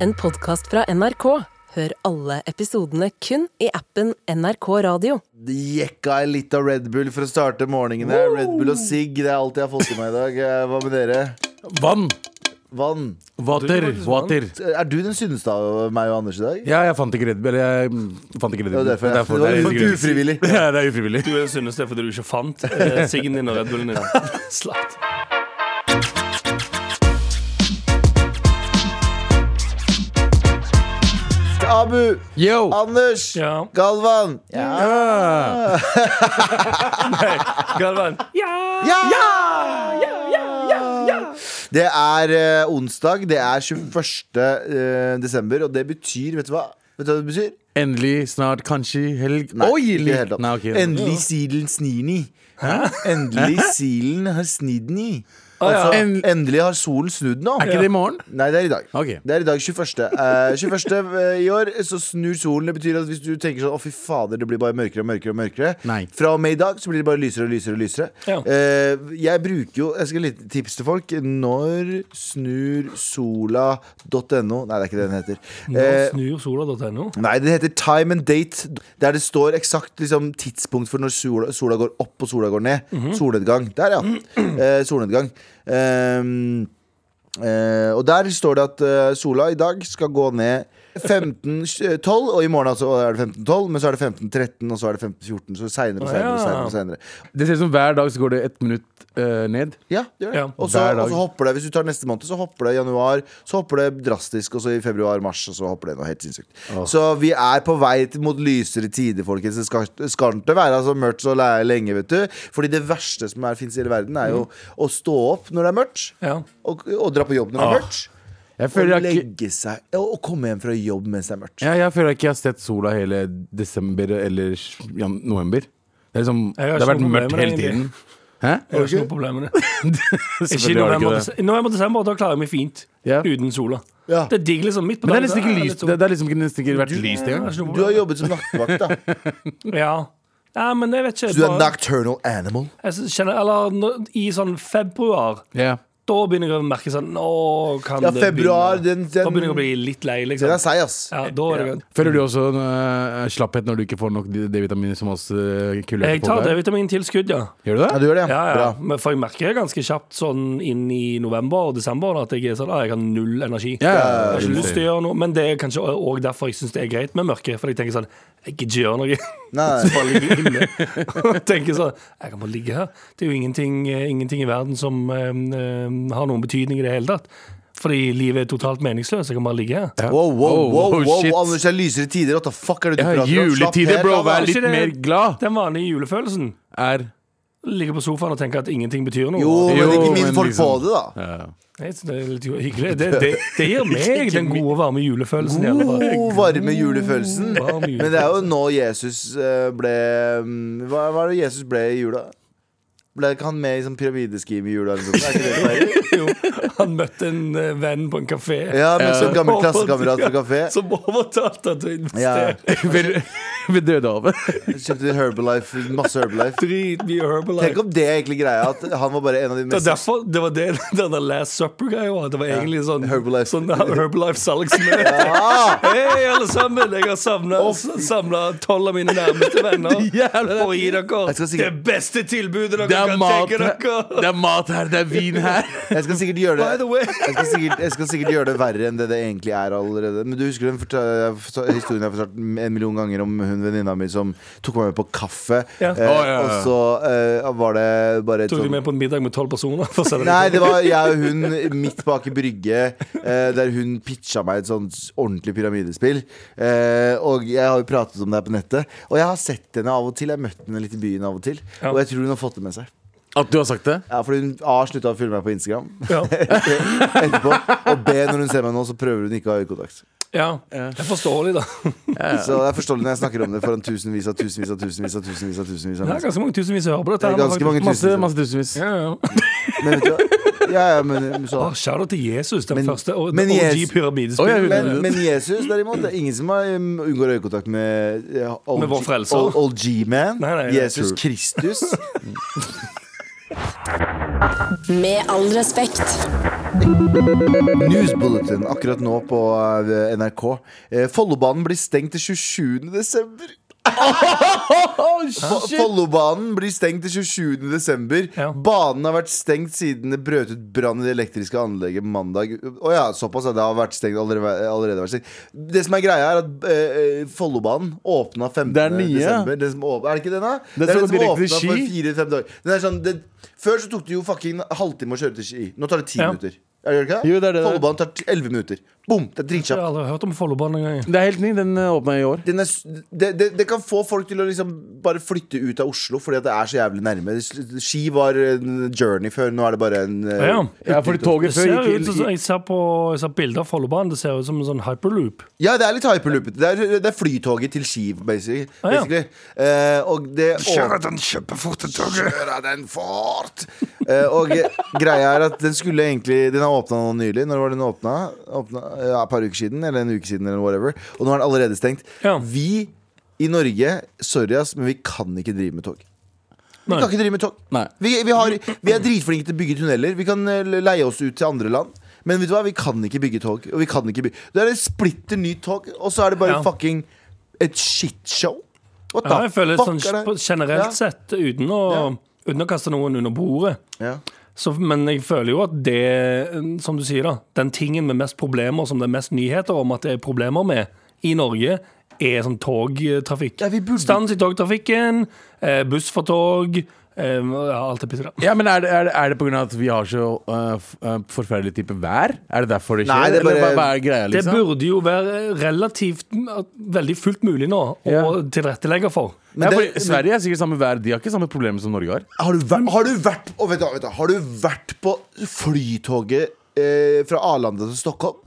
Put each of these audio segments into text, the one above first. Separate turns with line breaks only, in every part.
en podkast fra NRK. Hør alle episodene kun i appen NRK Radio.
Jekka ei lita Red Bull for å starte morgenen. her. Red Bull og sigg, det er alt jeg har fått i meg i dag. Eh, Hva med dere?
Vann.
Vann.
Water. Water.
Er du den sunneste av meg og Anders i dag?
Ja, jeg fant ikke Red Bull. eller Jeg mm, fant ikke Red
Det var
Bull.
derfor jeg- det var
litt
litt
grunn.
ufrivillig.
Ja, det er ufrivillig.
Du er den sunneste fordi du ikke fant eh, siggen din og Red Bullen din. Slapt.
Abu!
Yo!
Anders!
Ja.
Galvan! Ja!
Ja.
Galvan.
Ja! Det er eh, onsdag. Det er 21. eh, desember, og det betyr Vet du hva? Vet du hva det betyr?
Endelig, snart, kanskje, helg
Nei,
Oi,
ikke i det
litt-
hele tatt.
Nei, ok.
Endelig silen snini. Endelig silen har snidd ni. Altså,
En-
endelig har solen snudd nå.
Er ikke det i morgen?
Nei, det er i dag.
Ok.
Det er i dag 21. Eh, 21. i år så snur solen. Det betyr at hvis du tenker sånn Å, fy fader, det blir bare mørkere og mørkere. og mørkere
Nei.
Fra og med i dag så blir det bare lysere og lysere. og lysere
Ja.
Eh, Jeg bruker jo Jeg skal ha litt tips til folk. Når snur sola.no Nei, det er ikke det den heter.
Nå
Eh,
snur sola.no.
Nei, det heter time and date. Der det står eksakt liksom, tidspunkt for når sola, sola går opp og sola går ned.
Mhm.
Solnedgang. Der, ja. Eh, solnedgang. Ehm, eh, og der står det at eh, sola i dag skal gå ned 15.12, og i morgen altså, er det 15.12, men så er det 15.13, og så er det 15.14, så seinere og
Å,
seinere.
ja.
og seinere.
Det ser ut som hver dag så går det ett minutt eh, ned.
Ja, det gjør det.
Ja.
Og, så,
Hver dag.
og så hopper det, hvis du tar neste måned, så hopper det i januar, så hopper det drastisk, og så i februar, mars, og så hopper det noe helt sinnssykt. Så vi er på vei til- mot lysere tider, folkens. Det skal, skal ikke være så mørkt så le- lenge, vet du. Fordi det verste som er, finnes i hele verden, er jo å stå opp når det er mørkt,
Mm. Ja. Ah.
og, og dra på jobb når det er mørkt.
Jeg
Og
føler jeg ikke
legge seg Og og komme hjem fra jobb mens det er mørkt.
ja, jeg føler jeg ikke har sett sola hele desember eller jan november. Det, er liksom,
Jeg
det
har
har
ikke
vært
noe problem
mørkt
med
hele
det,
tiden. Hæ?
Jeg har ikke noe problem med det. Ikke i
Selvfølgelig har det
november,
ikke det.
des- i november desember, da klarer jeg meg fint.
Ja.
Uten sola.
Ja.
Det er digg liksom midt på
Men det er
dagen,
nesten ikke
så
lyst.
litt
Det, det har liksom ikke, nesten ikke vært lyst
sånn-
engang.
Ja,
Du har jobbet som nattevakt, da.
Ja. ja, men jeg vet ikke.
Du er
bare-
nocturnal animal.
jeg synes- kjenner, eller nå- I sånn februar
Ja.
Da begynner jeg å merke sånn Nå kan
Ja,
det
februar, den-
begynne.
den-
Da begynner jeg å bli litt lei, liksom.
Den er seig, ass.
Ja, da er det greit.
Føler du også en eh, slapphet når du ikke får nok D-vitamin som oss uh, kulørte
Jeg tar
folk er?
D-vitamintilskudd, ja.
Gjør du
Ja,
det?
du gjør det,
Ja,
ja.
ja.
Bra.
Men for jeg merker ganske kjapt sånn inn i november og desember da, at jeg er sånn, ah, jeg har null energi.
Ja, ja, ja,
Jeg har ikke
ja.
lyst til å gjøre noe, men det er kanskje òg derfor jeg syns det er greit med mørke. For jeg tenker sånn, jeg gidder ikke gjøre noe.
Nei,
Bare ligge inne. Og tenker sånn, jeg kan bare ligge her. Det er jo ingenting, eh, ingenting i verden som eh, eh, har noen betydning i det hele tatt. Fordi livet er totalt meningsløst. Jeg kan bare ligge her.
Wow, wow,
Oh,
wow,
oh,
wow,
shit.
Anders, det er lysere tider. What the fuck er det du
Ja,
prater om? Slapp
juletider,
helt
bro.
av,
Vær
da.
ikke
litt
det-
mer glad.
Den vanlige julefølelsen.
Er
Ligge på sofaen og tenke at ingenting betyr noe.
Jo, men
Jo,
ikke min
men
folk
liksom-
på det, da.
ja.
Jeg synes det er litt hyggelig. Det, det, det gir meg den gode, varme julefølelsen. i alle fall.
God, varme julefølelsen.
Varm julefølelse.
Men det er jo nå Jesus eh, ble mm, Hva hva er det Jesus ble i jula? Ble ikke han med i sånn pyramideskim i jula? Eller noe sånt? Er ikke det det pleier?
Jo, han møtte en eh, venn på en kafé.
ja, med sånn gammel klassekamerat fra kafé.
Som overtalte han til å investere.
Ja,
Ved, ved Dødehavet.
Kjøpte Herbalife, masse Herbalife.
Dritmye
Tenk
Herbalife.
om det er egentlig greia, at han var bare en av de
Det,
mest
er derfor, det var det den der Last Supper-greia var. Det var egentlig sånn
Herbalife.
sånn Herbalife-salgsmøte.
Ah!
Hei, alle sammen! Jeg har samla tolv av mine nærmeste venner for å gi
Jeg skal
dere
sikkert-
det beste tilbudet dere
Det er
kan
mat
tenke
her, det
dere.
er mat her, det er vin her.
Jeg skal sikkert gjøre
By
det
the way.
jeg skal, sikkert, jeg skal sikkert gjøre det verre enn det det egentlig er allerede. Men du husker den forta- forta- historien jeg har fortalt en million ganger om hun venninna mi som tok meg med på kaffe,
Ja.
eh,
Å, ja, ja.
og så eh, var det bare et
Tok de
sånn
med på en middag med tolv personer? For å selge
Nei, det var jeg og hun midt bak i brygge, eh, der hun pitcha meg et sånt ordentlig pyramidespill. Eh, og jeg har jo pratet om det her på nettet. Og jeg har sett henne av og til. Jeg har møtt henne litt i byen av og til.
Ja.
Og jeg tror hun har fått det med seg.
At du har sagt det?
Ja, fordi hun A slutta å følge meg på Instagram
Ja.
etterpå. Og B, når hun ser meg nå, så prøver hun ikke å ha øyekontakt.
Ja, det er forståelig, da.
Så det er forståelig når jeg snakker om det foran tusenvis av tusenvis av tusenvis av tusenvis av tusenvis av
Det er
mennesker.
ganske mange tusenvis som hører på dette.
Det er
her,
ganske mange
Masse,
tusenvis.
masse tusenvis.
Ja, ja.
av- Men vet du hva? Ja, ja, men, men så,
Å, Shout-out til Jesus, den
Men-
første og,
men
og
Jesus-
Å,
pyramidespillet.
jeg-
men, men Jesus, derimot, det er ingen som har, um, unngår øyekontakt med ja, old,
Med vår
G-
frelser.
Old, old G-man.
Nei, nei, det er
Jesus
true.
Kristus.
Med all respekt.
News Bulletin akkurat nå på eh, NRK. Eh, Follobanen blir stengt til 27. desember.
Oh,
Fo- Follobanen blir stengt til 27. desember.
Ah, Ja.
Banen har vært stengt siden det brøt ut brann i det elektriske anlegget mandag. Å ja, såpass. at Det har vært stengt, allerede, allerede vært stengt. Det som er greia, er at eh, Follobanen åpna 15.
Det er nye.
desember. Den som åp- er det ikke den, da?
Den som går direkte til
for
Ski.
fire-fem dager. Den er sånn, det, før så tok det jo fucking halvtime å kjøre til Ski. Nå tar det ti
Ja.
minutter. Er det ikke
Jo, det er det det er.
Follobanen tar t- 11 minutter. Bom! Det er
Jeg har
dritkjapt.
aldri hørt om Follobanen engang.
Det er helt ny. Den åpna i år.
Den er s- Det, det, det kan få folk til å liksom bare flytte ut av Oslo fordi at det er så jævlig nærme. S- Ski var en journey før, nå er det bare en eh,
Ja.
Ja, fordi
Det
toget før
ser ut
gikk
som, jeg, ser på, jeg ser bilder av Follobanen. Det ser ut som en sånn hyperloop.
Ja, det er litt hyperloopet. Det, er- det er flytoget til Ski, basically.
Ah, ja.
basically. Eh, og det åpner-
den kjempeforte
Kjøre den fort! Eh, og eh, greia er at den skulle egentlig Den har åpna nå nylig. Når var den åpna? Åpna, Ja, et par uker siden, eller en uke siden, eller whatever. Og nå er den allerede stengt.
Ja.
Vi i Norge, sorry ass, men vi kan ikke drive med tog. Vi
Nei.
kan ikke drive med tog.
Nei.
Vi, vi, har, vi er dritflinke til å bygge tunneler. Vi kan eh, leie oss ut til andre land. Men vet du hva, vi kan ikke bygge tog. Og vi kan ikke bygge. Det er et splitter nytt tog, og så er det bare
Ja.
fucking et shitshow. What
Ja, jeg føler
fuck
sånn,
er det?
på- generelt
Ja.
sett, uten å, uten å kaste noen under bordet
Ja.
så, Men jeg føler jo at det, som du sier da, den tingen med mest problemer, som det er mest nyheter om at det er problemer med i Norge, er sånn togtrafikk.
Ja, vi burde-
Stans i togtrafikken, eh, buss for tog, eh, ja, alt det pisset der.
Ja, men Er det, er det, er det pga. at vi har så øh, f- øh, forferdelig type vær? Er det derfor det skjer?
Nei, det er bare-
Eller hva, hva er greia,
Det
liksom?
burde jo være relativt veldig fullt mulig nå å
Ja.
tilrettelegge for.
Men
ja,
det-
for Sverige er sikkert samme vær. De har ikke samme problem som Norge har.
Har du vært, har du vært, å, vent da, vent da, har du vært på flytoget eh, fra Arlanda til Stockholm?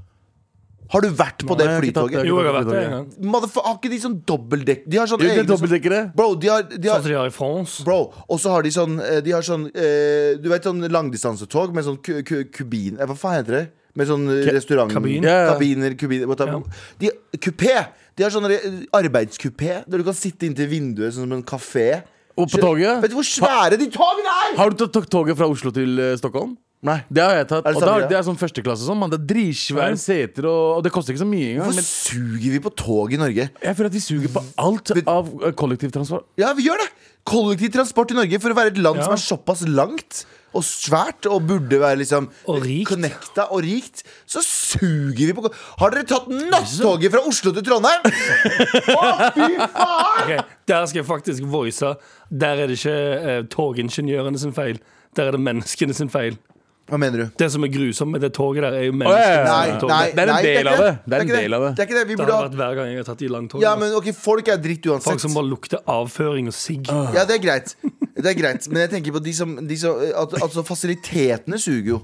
Har du vært på det
Nei, jeg har ikke tatt
flytoget?
det.
Jo, jeg har vært det en gang.
Motherf- har ikke de sånn dobbeltdekk De har sånn
Jo, det
egne
er
sånn-
dobbeltdekkere.
Bro, de har, de
Sånn
har
som de har i France.
Bro, og så har de sånn eh, De har sånn eh, Du vet sånn langdistansetog med sånn ku, ku, kubin eh, Hva faen heter det? Med sånn eh, restaurant
kabin?
Ja, ja.
Kabiner, kubiner whatever. De, Kupé! De har sånn eh, arbeidskupé der du kan sitte inntil vinduet sånn som en kafé.
Og på toget?
Vet du hvor svære de togene er?!
Har du tatt tog- toget fra Oslo til øh, Stockholm?
Nei.
Det har jeg tatt.
Er det
og da,
samme, ja?
det er sånn førsteklasse og sånn. Man, det er
Ja.
dritsvære seter, og, og det koster ikke så mye engang.
Hvorfor
Men
suger vi på tog i Norge?
jeg føler at vi suger på alt av øh, kollektivtransport.
Ja, vi gjør det! Kollektiv transport i Norge for å være et land
Ja.
som er såpass langt og svært og burde være liksom
Og rikt.
connecta og rikt, så suger vi på ko- Har dere tatt nattoget fra Oslo til Trondheim?! Å, fy faen!
Ok, Der skal jeg faktisk voice. Der er det ikke eh, togingeniørene sin feil. Der er det menneskene sin feil.
Hva mener du?
Det som er grusomt med det toget der, er jo
Å, ja,
menneskene
ja,
Nei,
sin tog.
nei,
Det er en
nei,
del
ikke
av det. Det er en
ikke
del av det.
Det er ikke det. Vi
Det
burde
har
ha
vært hver gang jeg har tatt de langtogene.
Ja, men ok, folk er dritt uansett.
Folk som bare lukter avføring og sigg.
Ja, det er greit. Det er greit Men jeg tenker på de som, de som at, Altså, fasilitetene suger jo.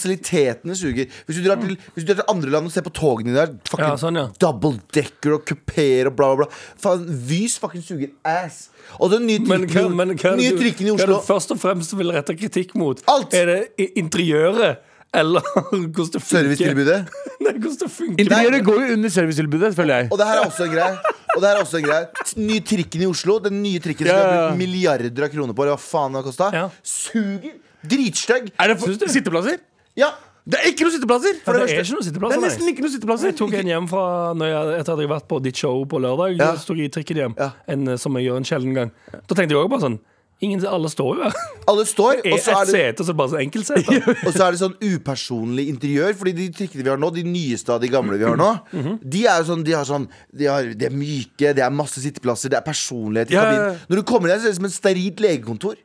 Fasilitetene suger. Hvis du drar til, hvis du drar til andre land og ser på togene der Fucking
Ja, sånn, ja.
double decker og kupeer og bla, bla, bla. Faen, Vys fucking suger ass. Og den nye
Men hva,
trikken,
men hva er det
nye
du-
trikken i
hva er det
Oslo
du først og fremst vil rette kritikk mot?
Alt!
Er det i- interiøret? Eller hvordan det funker?
Servicetilbudet.
Nei, hvordan det funker.
Interiøret går jo under servicetilbudet, føler jeg.
Og det her er også en greie. Og det her er også en greie T- Ny trikken i Oslo, den nye trikken som
Ja,
vi har
ja, ja.
brukt milliarder av kroner på, eller hva faen det har kosta,
Ja.
suger. Dritstygg.
Er det for, sitteplasser?
Ja.
Det er ikke noen sitteplasser!
Ja,
For
det er
første.
ikke noen
Det
sitteplasser,
er
altså, nei.
nesten ikke noen sitteplasser.
Jeg tok en hjem fra når jeg, etter at jeg hadde vært på ditt show på lørdag.
Ja.
Så tok jeg trikken hjem,
Ja.
en, eh, som jeg gjør en sjelden gang. Da tenkte jeg også bare sånn Ingen, Alle står jo her.
Alle står,
Er
og så
et
er det
sete, så bare så enkeltsete.
Og så er det sånn upersonlig interiør, Fordi de trikkene vi har nå, de nyeste av de gamle vi har nå,
Mm-hmm.
de er jo sånn De har sånn De, har, de er myke, det er masse sitteplasser, det er personlighet i
Ja, ja, ja.
kabinen. Når du kommer deg, ser det ut som et sterilt legekontor.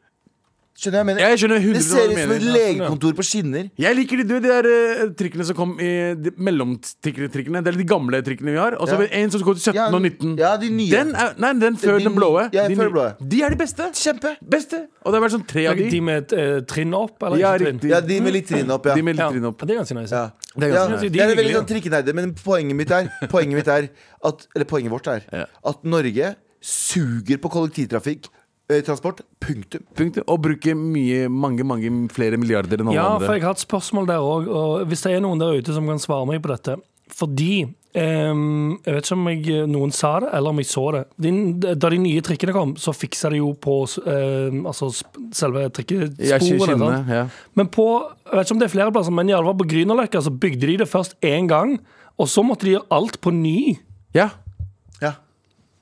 Skjønner jeg hva jeg mener?
Jeg skjønner 100%
det ser
hva
ut
du
som et
mener. sånn,
legekontor på skinner.
Jeg liker de, du, de der eh, trikkene som kom i de mellomtrikkene. Det er de gamle trikkene vi har. Og så har vi en som går til 17
Ja,
og 19.
ja, de nye.
Den er, nei, den før
De
den blå.
nye. Ja,
de,
før
nye.
blå.
de er de beste.
Kjempe!
Beste. Og det har vært sånn tre av de.
De med et eh, trinn opp, eller?
Ja,
ikke trinn?
riktig.
Ja, de med litt trinn opp, ja.
De med litt
Ja,
trinn opp.
Det er ganske nice.
ja.
Det er ganske
ja,
nice.
jeg er
De er
veldig
hyggelige.
sånn trikkenerde, men poenget mitt er, poenget mitt er at, Eller poenget vårt er
Ja.
at Norge suger på kollektivtrafikk. eh, Transport. Punktum.
Punktum. Og bruke mye, mange, mange flere milliarder enn alle
Ja, for
andre.
jeg har et spørsmål der òg. Og hvis det er noen der ute som kan svare meg på dette Fordi Ehm, jeg vet ikke om jeg, noen sa det, eller om jeg så det. De, da de nye trikkene kom, så fiksa de jo på ehm, altså, sp- selve
Ja, kinnene.
trikkesporene. sant?
Ja.
Men på, jeg vet ikke om det er flere plasser, men i alle fall på Grünerløkka så bygde de det først én gang, og så måtte de gjøre alt på ny.
ja.
Ja.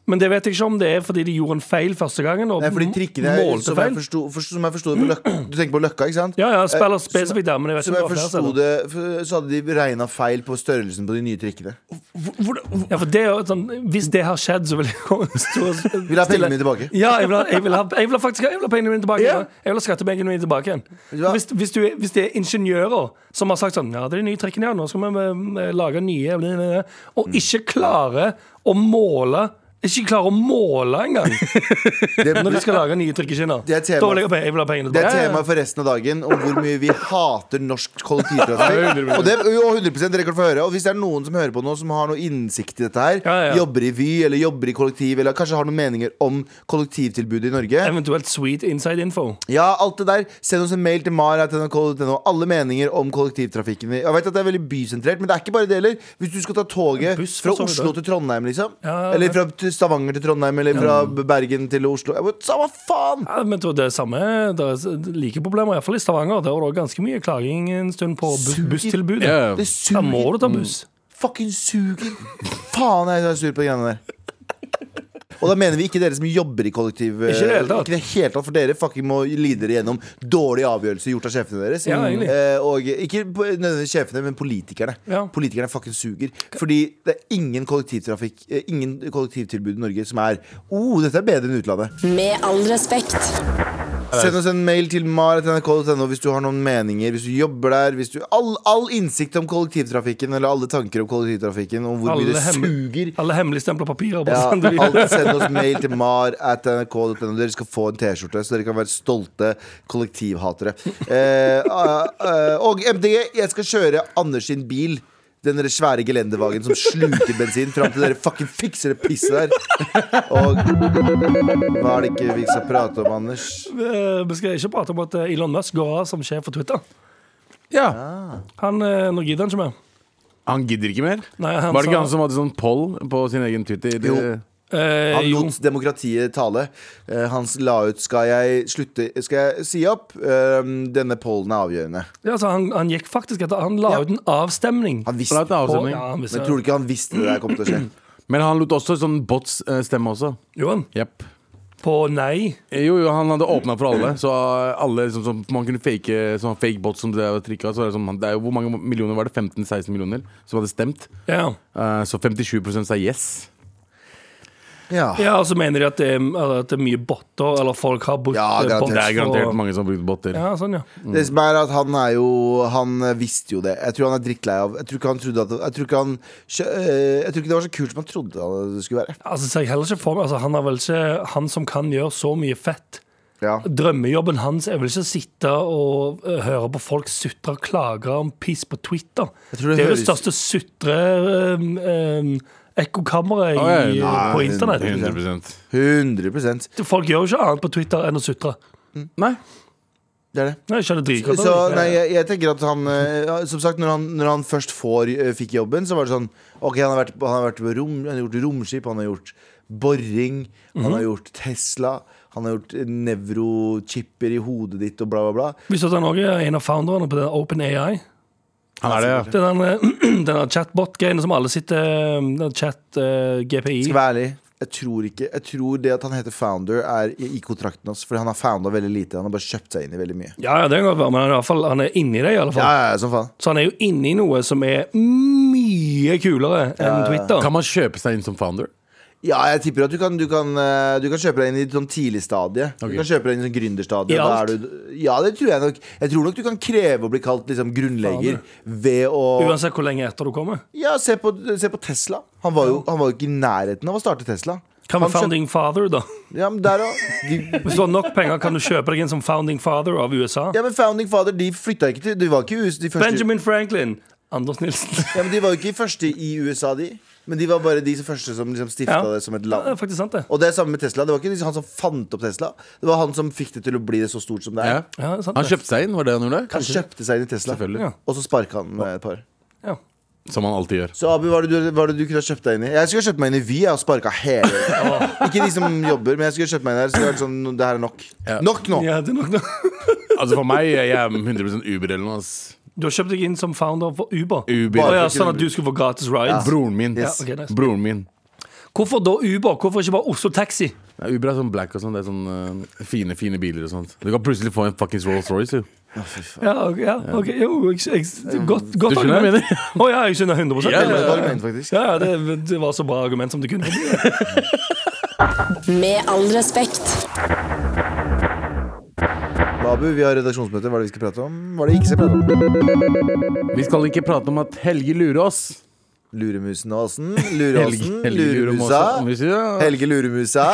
Men det vet jeg ikke om det er fordi de gjorde en feil første gangen. Og
Nei, fordi trikkene er,
målte
som, jeg
feil.
forsto, for, som jeg forsto det på Løkka Du tenker på Løkka, ikke sant?
Ja, ja,
Eh,
spiller spesifikt der, men jeg vet
Som
ikke
jeg
om det var flere
forsto det, f- så hadde de beregna feil på størrelsen på de nye trikkene.
Ja, for det er jo et sånn, Hvis det har skjedd, så vil jeg komme stå og
Vil jeg ha pengene mine tilbake?
Ja, jeg vil ha, jeg vil ha, jeg vil ha faktisk, jeg vil ha pengene mine tilbake.
Ja.
Jeg vil ha skattepengene mine tilbake igjen.
Ja.
Hvis, hvis, du, er- hvis det er ingeniører som har sagt sånn Ja, det er de nye trekkene her, nå skal vi eh, lage nye bla, bla, bla»,
Mm.
Og ikke klare å måle Ikke klare å måle engang
Det,
når de skal lage nye trikkeskinner.
Det er tema.
Da vil jeg, ha pe- jeg vil ha pengene
det er
tilbake. Ja, ja.
temaet for resten av dagen om hvor mye vi hater norsk kollektivtrafikk. Og det og 100 dere kan få høre. Og hvis det er noen som hører på nå som har noe innsikt i dette her,
Ja, ja.
jobber i Vy eller jobber i kollektiv, eller kanskje har noen meninger om kollektivtilbudet i Norge,
Eventuelt sweet inside info.
Ja, alt det der. Send oss en mail til mar.nrk.no. Alle meninger om kollektivtrafikken. Jeg vet at det er veldig bysentrert, men det er ikke bare det heller. Hvis du skal ta toget
Buss for
fra
så vidt,
Oslo
da.
til Trondheim, liksom.
Ja,
eller fra t- Stavanger til Trondheim, eller fra Bergen til Oslo. Jeg vet, Samme faen!
Ja, men det er samme, det er like problemer, iallfall i Stavanger. Der var det også ganske mye klaging en stund på bu-
Suger.
busstilbudet.
Ja, ja.
Det
Da må
suger.
du ta buss.
Fucking suger. Faen, jeg er sur på de greiene der. Og da mener vi ikke dere som jobber i kollektiv
Ikke i det hele tatt.
Ikke i det hele tatt For dere fucking må lide dere gjennom dårlige avgjørelser gjort av sjefene deres.
Ja, egentlig.
Eh, og ikke på- nødvendigvis sjefene, men politikerne.
Ja.
Politikerne fucking suger. Fordi det er ingen kollektivtrafikk eh, Ingen kollektivtilbud i Norge som er oh, dette er bedre enn utlandet.
Med all respekt.
Send oss en mail til mar.nrk.no hvis du har noen meninger, hvis du jobber der. Hvis du, all, all innsikt om kollektivtrafikken, eller alle tanker om kollektivtrafikken, og hvor mye
Alle
det
hemmelig-
suger.
Alle hemmeligstempla
Ja,
papirer. bare sånn. send det videre.
alt, send oss mail til mar.nrk.no. Dere skal få en T-skjorte, så dere kan være stolte kollektivhatere. Eh, eh, og MDG, jeg skal kjøre Anders sin bil. Den der svære gelendervagen som sluker bensin fram til dere fucking fikser det pisset der. Og hva er det ikke vi skal prate om, Anders?
Eh, Vi skal ikke prate om at eh, Elon Musk går av som sjef for Twitter.
ja.
Ah.
Han, eh, Nå gidder han ikke mer.
Han gidder ikke mer?
Nei, han
Var det
sa-
ikke han som hadde sånn poll på sin egen Twitter? Det-
Jo.
Eh,
Han
jo.
lot demokratiet tale. Eh, Han la ut 'Skal jeg slutte Skal jeg si opp?' Eh, Denne pollen er avgjørende.
Ja, altså, han, han gikk faktisk etter Han la ut en avstemning.
Han
Han
visste
la ut en
på-
avstemning.
ja, han visste-
Men tror du ikke han visste det der kom til å skje?
Men han lot også sånn bots eh, stemme også.
Jo, han.
Jepp.
På nei.
Eh, Jo, jo, han hadde åpna for alle, så alle liksom, som man kunne fake sånn fake bots som det der var trikket, så var det sånn, det er jo, Hvor mange millioner var det? 15-16 millioner som hadde stemt?
Ja.
Eh, så 57 sa yes.
Ja.
ja, Og så mener de at det, er- at det er mye botter, eller folk har brukt
Ja,
eh,
garantert.
bots
Det er garantert
for-
mange som har brukt botter.
Ja, sånn, ja.
Det som er at han er jo Han eh, visste jo det. Jeg tror han er drittlei av Jeg tror ikke han trodde at Jeg tror ikke han skjø- eh, Jeg tror ikke det var så kult som han trodde det skulle være.
Altså, ser jeg heller ikke for meg altså, Han er vel ikke han som kan gjøre så mye fett.
Ja.
Drømmejobben hans er vel ikke å sitte og eh, høre på folk sutre og klage om piss på Twitter.
Jeg
Det,
tror det
er jo
høres-
det største sutre... Um, um, Ekkokammeret i-
Å, ja,
nei,
på internett.
100
100
Folk gjør jo ikke annet på Twitter enn å sutre.
Nei.
Det er det.
Nei, ikke det dritgodt,
Så
eller?
nei, jeg, jeg tenker at han eh, ja, Som sagt, når han, når han først får, eh, fikk jobben, så var det sånn Ok, han har, vært, på- han har, vært på rom, han har gjort romskip, han har gjort boring, han har gjort Tesla, han har gjort eh, nevrochipper i hodet ditt og bla, bla, bla.
Visste du at han også er en av founderne på den OpenAI?
Han er det, ja.
Det er Den eh, den der chatbot-greien som alle sitter um, den Chat, eh, GPI
Skal være ærlig. Jeg tror ikke Jeg tror det at han heter founder, er i, i kontrakten hans. For han har founda veldig lite. Han har bare kjøpt seg inn i veldig mye.
Ja, ja, det kan godt være, men han er, i hvert fall, han er inni det, i alle fall.
Ja, ja, ja, som faen.
Så han er jo inni noe som er mye kulere enn Twitter.
Kan man kjøpe seg inn som founder?
Ja, jeg tipper at du kan, du kan, eh, du kan kjøpe deg inn i et sånn tidlig stadie.
Ok.
Du kan kjøpe deg inn i sånn gründerstadie.
I
Da
alt?
er du, ja, det tror jeg nok. Jeg tror nok du kan kreve å bli kalt liksom, grunnlegger ved å
Uansett hvor lenge etter du kommer.
Ja, se på, se på Tesla. Han var, jo, han var jo ikke i nærheten av å starte Tesla.
Kan vi
Han kjøpte-
founding father, da?
Ja, men der òg. De,
Hvis du har nok penger, kan du kjøpe deg inn som founding father av USA.
ja, men Founding Father de flytta ikke til De var ikke i US, de første
Benjamin Franklin. Anders Nilsen.
Ja, men De var jo ikke første i USA, de. Men de var bare de som første som liksom stifta
Ja.
det som et
Det er
land.
faktisk sant, det.
Og det er samme med Tesla. Det var ikke liksom han som fant opp Tesla. Det var han som fikk det til å bli det så stort som det er.
Ja.
Ja, det er sant,
Han
det.
kjøpte seg inn, var det han gjorde?
Han kjøpte seg inn i Tesla,
Selvfølgelig.
Ja.
og så sparka han eh, et par.
Ja.
Som man alltid gjør.
Så Abu, hva er det du, hva er det du kunne ha kjøpt deg inn i? Jeg skulle ha kjøpt meg inn i Vy. Jeg har sparka hele Ikke de som jobber, men jeg skulle ha kjøpt meg inn der. Så det, er sånn, det her er nok.
Ja.
Nok nå!
Ja, det er nok nå.
Altså For meg jeg er 100 Uber eller noe. ass
Du har kjøpt deg inn som founder for Uber.
Uber.
Å ja, sånn at du skulle få gratis rides.
Broren min.
Yes. Ja, ok, nice.
Broren min.
Hvorfor da Uber? Hvorfor ikke bare Oslo Taxi?
Ja, Uber er sånn black og sånn. Det er sånn eh, fine fine biler og sånt. Du kan plutselig få en fuckings Rolls-Royce. jo.
Ja, ok, ja, ok, jo, jeg, jeg, godt, godt
Du skjønner hva jeg
argument. Å ja, jeg skjønner 100
Ja,
Det var et
ja,
argument, faktisk.
ja, det, det var så bra argument som det kunne bli.
Med all respekt.
Abu, vi har redaksjonsmøte. Hva er det vi skal prate om? Hva er det vi ikke skal prate om?
Vi skal ikke prate om at Helge lurer oss.
Luremusen og åsen. Lureåsen.
lurer om
Luremusa.
oss, om vi sier, ja.
Helge Luremusa.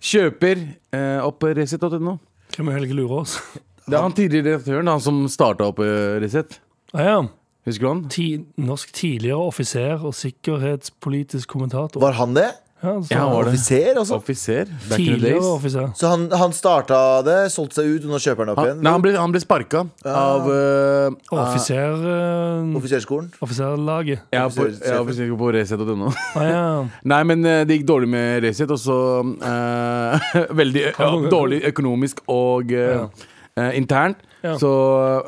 Kjøper eh, opp Resett.no.
Hvem er Helge lurer oss?
Det er han tidligere redaktøren han som starta opp eh, Resett.
Ah, ja.
Husker du han?
Ti, norsk tidligere offiser og sikkerhetspolitisk kommentator.
Var han det?
Ja, så,
Ja, han var det.
Offiser, altså?
Offiser. Back in the
Tidligere
days.
offiser.
Så han, han starta det, solgte seg ut, og nå kjøper han det opp
Han,
igjen?
nei, han ble, han ble sparka av eh,
Ah. Offiser, eh,
Offiserskolen?
offiserlaget.
Ja, på,
Offiser-
ja, offiser på Resett.no.
Ah, ja.
Nei, men eh, det gikk dårlig med Resett, og så eh, Veldig eh, ja, dårlig økonomisk og eh, eh, internt.
Ja.
Så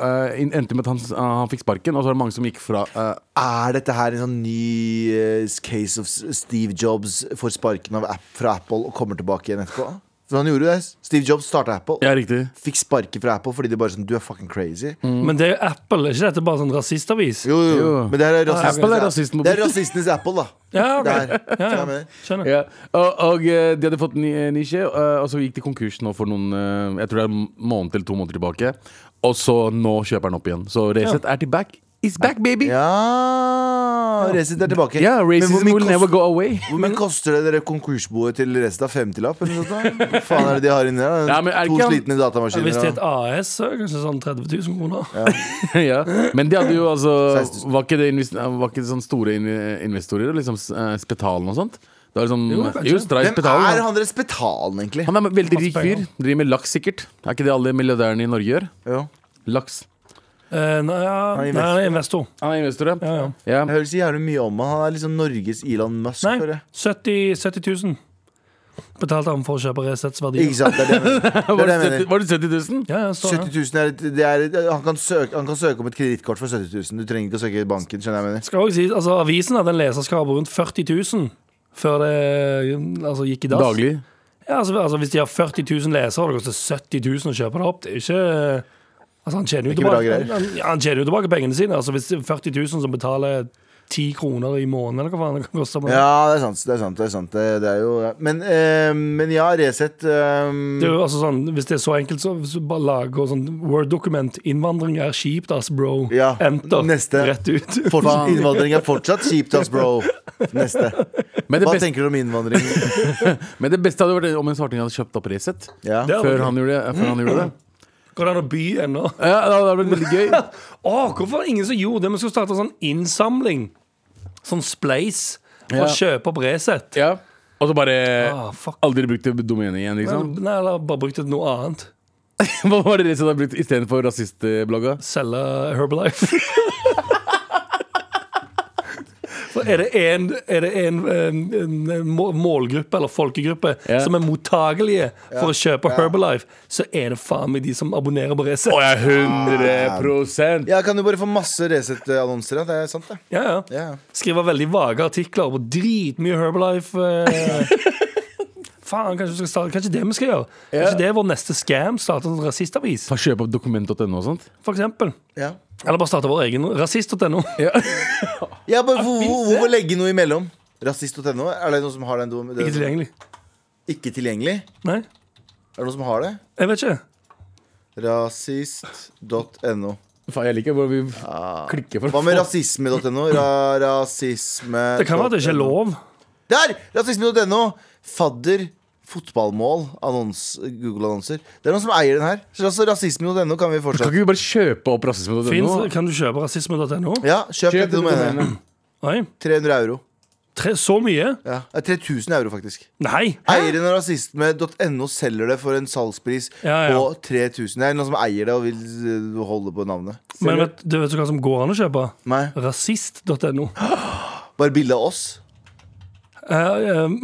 eh, in- endte med at han, han fikk sparken, og så er det mange som gikk fra eh,
Er dette her en sånn ny eh, case of Steve Jobs får sparken av app fra Apple og kommer tilbake igjen etterpå? For han gjorde det. Steve Jobs starta Apple.
Ja, riktig.
Fikk sparken fra Apple fordi de bare sånn Du er fucking crazy.
Men det er jo Apple, er ikke dette bare sånn rasistavis?
Jo, jo, jo.
Mm. Jo.
Men det her er rasistenes
Apple er rasisten på
Det er rasistenes Apple, da.
Ja, ok.
Det her.
ja,
Skjønner jeg
ja.
med det?
Skjønner.
Ja. Og, og eh, de hadde fått ny eh, nisje, eh, og så gikk de konkurs nå for noen eh, Jeg tror det er en måned eller to måneder tilbake. Og så nå kjøper han opp igjen. Så Resett er tilbake. It's back, baby! Ja,
Ja, Resett er tilbake. Men hvor
racism
mye
will
kost-
never go away.
Hvor mye koster det dere konkursboet til Resett? av 50-lapp? eller noe sånt da? Hva faen er det de har inni der? da?
Ja, men er det
to
ikke han-
slitne datamaskiner.
Hvis det er
og-
et AS, så er det kanskje sånn 30 000 kroner.
ja. Men de hadde jo altså
16 000.
Var ikke det, invest- var ikke det sånn store in- investorer? Liksom eh, Spetalen og sånt? Det var liksom,
Jo, kanskje.
jo, Stray
Hvem
Spetalen.
er
han?
han deres Spetalen, egentlig?
er en veldig
Masse
rik fyr.
penger.
Driver med laks, sikkert. Er ikke det alle milliardærene i Norge gjør?
Jo.
Laks.
Eh, nei, ja,
Han er
nei, han er investor.
Han er investor,
Ja, ja.
ja.
Jeg hører så jævlig mye om han. Han er liksom Norges Elon Musk. føler
Nei,
jeg.
70, 70 000 betalte han for å kjøpe Resets verdier.
Ikke sant, det er det jeg mener. Det
Var
er det
det
jeg mener.
70 var det 70 000?
Ja, ja, står
70
her.
000 er, et, det er et, han, kan søke, han kan søke om et kredittkort for 70 000. Du trenger ikke å søke i banken. skjønner jeg hva jeg mener
Skal også si, altså, avisen hadde en leserskap på rundt 40 000 før det altså, gikk i dass.
Daglig.
Ja, altså, altså, hvis de har 40 000 lesere, og det koster 70 000 å kjøpe det opp, det er jo ikke Altså, han tjener jo
Det er ikke bra
tilbake,
greier.
han, han, han tjener jo tilbake pengene sine. Altså, hvis det er 40 000 som betaler 10 kroner i måneden, eller hva faen det kan koste på det.
Ja, det er sant. Det er sant, det er sant. Det, det er jo, ja. Men, eh, men ja, Resett ehm,
Det er jo altså sånn, Hvis det er så enkelt, så så bare lag og sånn Word-dokument. Innvandring er kjipt, ass, bro.
Ja,
Enter.
neste.
Rett ut.
fortsatt, Innvandring er fortsatt kjipt, ass, bro. Neste.
Men det,
Hva
beste,
tenker du om innvandring?
men det beste hadde vært om en svarting hadde kjøpt opp Resett
Ja.
Det
før,
vært-
han gjorde det- eh, før han gjorde det.
Går det an å by ennå?
Ja, det hadde vært veldig gøy.
Å, hvorfor er det ingen som gjorde det? Vi skulle starte en sånn innsamling. Sånn Spleis. For
Ja.
å kjøpe opp Resett.
Ja. Og så bare
Ah, fuck.
aldri brukt det domenet igjen, liksom.
Nei, eller bare brukt et noe annet.
Hva var det Resett hadde brukt istedenfor rasistblogga?
Selge Herbalife. For er det en, er det en, em, en, må- målgruppe eller folkegruppe
Ja.
som er mottagelige for å kjøpe Herbalife, så er det faen meg de som abonnerer på Resett.
Å ja, 100
Ja, kan du bare få masse Resett-annonser? Ja? Det er sant, det.
Ja, ja.
Ja.
Skriver veldig vage artikler på dritmye Herbalife. Eh. faen, kanskje, vi skal starte, kanskje det vi skal gjøre? Kanskje det er vår neste scam? Starte en rasistavis,
Ta Kjøp opp dokument.no og sånt.
for eksempel.
Ja.
Eller bare starte vår egen rasist.no.
Ja, bare, hvor, hvor, hvorfor legge noe imellom? Rasist.no? Er det noen som har den? dom-
Ikke
den
tilgjengelig.
ikke tilgjengelig?
Nei,
Er det noen som har det?
jeg vet ikke.
Rasist.no.
Faen, jeg liker hvor vi klikker for
Ah. Hva med
å få-
rasisme.no? Ra rasisme
Det kan være at det ikke er lov.
Der! Rasisme.no! Fadder, fotballmål, annons, Google-annonser. Det er noen som eier den her. Så altså, rasisme.no kan vi
Kan
fortsatt
ikke vi bare kjøpe opp rasisme.no?
Finns, kan du kjøpe rasisme.no?
Ja, kjøp
Kjøp
dette domenet.
domenet.
Oi.
300 euro.
Tre, så mye?
Ja. Det er 3000 euro, faktisk.
Nei!
Eieren av rasisme.no selger det for en salgspris
Ja, ja.
på 3000. Det er noen som eier det og vil eh, holde på navnet.
Men vet du vet du hva som går an å kjøpe?
Nei.
Rasist.no.
Bare bilde av oss.
Eh, em,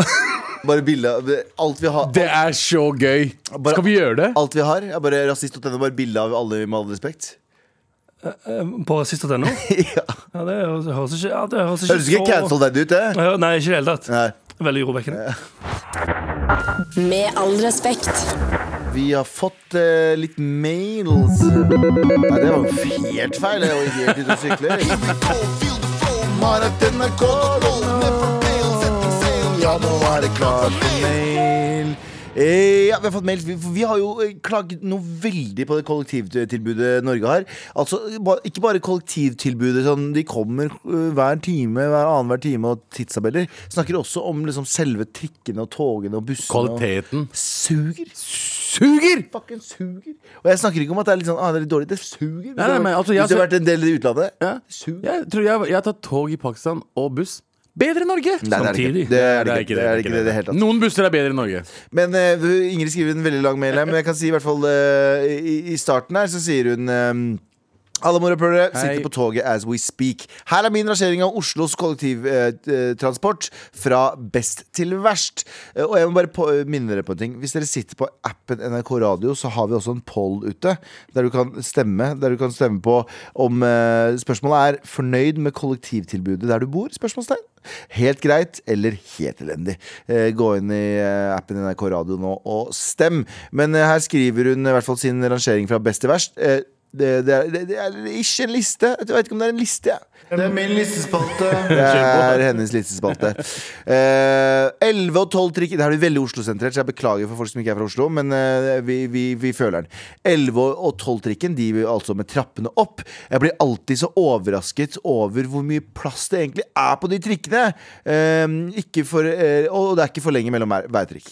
Bare bilde av Alt vi har.
Det er så gøy!
Bare-
Skal vi gjøre det?
Alt vi har, er bare rasist.no. Bare bilde av alle med all respekt.
em, på rasist.no?
ja.
Ja, det høres det høres ikke, ja, det høres ikke
Høres ikke
så-
cancel dad ut, det.
Ja, Nei, ikke i det hele tatt.
Nei.
Veldig urovekkende.
Med all respekt.
Vi har fått eh, litt mails. Nei, det var jo helt feil. Jeg var helt ute og sykler. Ja, nå er det klart for mail. Eh, Ja, vi har fått mail. Vi, for vi har jo eh, klaget noe veldig på det kollektivtilbudet Norge har. Altså, ba, Ikke bare kollektivtilbudet. sånn De kommer eh, hver time, hver annenhver time og tidstabeller. Snakker også om liksom selve trikkene og togene og bussene.
Kvaliteten
Og suger.
suger!
Fucking suger. Og jeg snakker ikke om at det er litt sånn ah, det er litt dårlig. Det suger. Hvis
Nei, nei,
du har-
men altså, jeg
Hvis du har
ser-
vært en del i utlandet.
Ja.
det Suger.
Jeg tror jeg, jeg har tatt tog i Pakistan og buss. Bedre enn Norge!
Nei, det er det
Samtidig.
ikke. Det er det ikke. Det er ikke det i det hele tatt.
Noen busser er bedre enn Norge.
Men eh, du, Ingrid skriver en veldig lang mail her, men jeg kan si i hvert fall eh, i, i starten her så sier hun eh, alle morapulere
Hei.
sitter på toget as we speak. Her er min rangering av Oslos kollektivtransport eh, fra best til verst. Eh, Og jeg må bare på, minne dere på en ting. Hvis dere sitter på appen NRK Radio, så har vi også en poll ute der du kan stemme. Der du kan stemme på om eh, spørsmålet er fornøyd med kollektivtilbudet der du bor? Spørsmålstegn. Helt greit eller helt elendig. Eh, Gå inn i eh, appen NRK Radio nå og stem. Men eh, her skriver hun i hvert fall sin rangering fra best til verst. Eh, det, det, er, det, det er ikke en liste. Jeg vet ikke om det er en liste. Ja. Det er min listespalte. Det er hennes listespalte. Eh, 11 og 12 trikker Det her blir veldig Oslo-sentrert, så jeg beklager for folk som ikke er fra Oslo, men eh, vi, vi, vi føler den. 11 og 12 trikken, de vil altså med trappene opp. Jeg blir alltid så overrasket over hvor mye plass det egentlig er på de trikkene. Eh, ikke for, eh, og det er ikke for lenge mellom hver, hver trikk.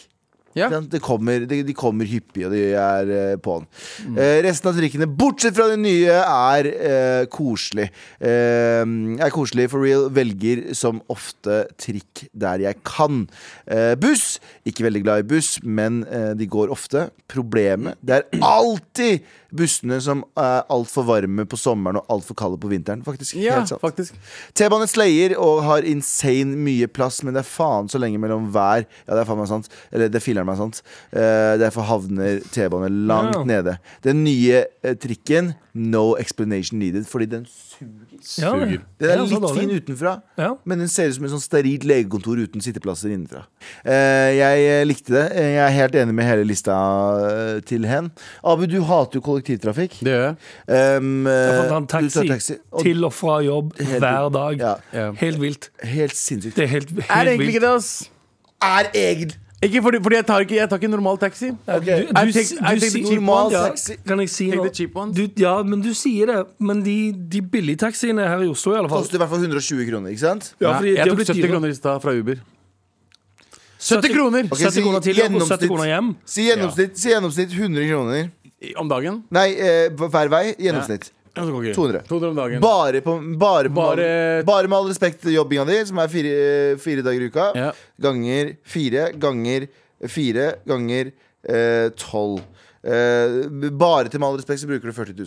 Ja.
Ikke sant? Det kommer, de, de kommer hyppig, og de er eh, på'n. Eh, resten av trikkene, bortsett fra den nye, er eh, koselig. Eh, er koselig for real. Velger som ofte trikk der jeg kan. Eh, buss. Ikke veldig glad i buss, men eh, de går ofte. Problemet Det er alltid bussene som er altfor varme på sommeren og altfor kalde på vinteren, faktisk.
Ja,
Helt sant.
faktisk.
T-banen slayer og har insane mye plass, men det er faen så lenge mellom hver. Ja, det er faen meg sant. Eller det filler'n meg sant. Eh, derfor havner T-bane langt
Ja.
nede. Den nye eh, trikken, no explanation needed, fordi den,
Ja,
Suger.
det-
den er
ja, så
litt
dårlig.
fin utenfra.
Ja.
Men den ser ut som et sånn sterilt legekontor uten sitteplasser innenfra. Eh, jeg eh, likte det. Eh, Jeg er helt enig med hele lista eh, til hen. Abu, du hater jo kollektivtrafikk.
Det gjør jeg.
Um,
Jeg har fått en
du tar
taxi,
taxi. Og,
til og fra jobb
Helt-
hver dag.
ja,
Ja.
Helt vilt.
helt sinnssykt.
Det er helt, helt
Er det egentlig
vilt.
ikke det, ass?
er egentlig
Ikke fordi, fordi jeg tar ikke Jeg tar ikke normal taxi.
Ok.
Du, du,
I take- I
si- du
take the
si-
cheap
normal
one,
ja,
taxi.
Kan jeg si
Take
noe?
the cheap ones.
Du, ja, men du sier det. Men de, de billigtaxiene her i Oslo, i alle fall
koster i hvert fall 120 kroner, ikke sant?
ja,
Nei,
fordi de har
jeg tok
blitt
70
dyrere.
kroner i stad fra Uber. 70 kroner!
Ok,
70
si
kroner til jobb og 70
gjennomsnitt-
kroner hjem.
Si gjennomsnitt, si gjennomsnitt 100 kroner.
I- Om dagen.
Nei, eh, hver vei. Gjennomsnitt.
Ja, så går ikke.
200.
200 om dagen.
Bare, på, bare, på,
Bare-
bare med all respekt jobbinga di, som er fire, eh, fire dager i uka,
Ja.
ganger fire, ganger fire, ganger eh, tolv. Eh, bare til med all respekt så bruker du 40 000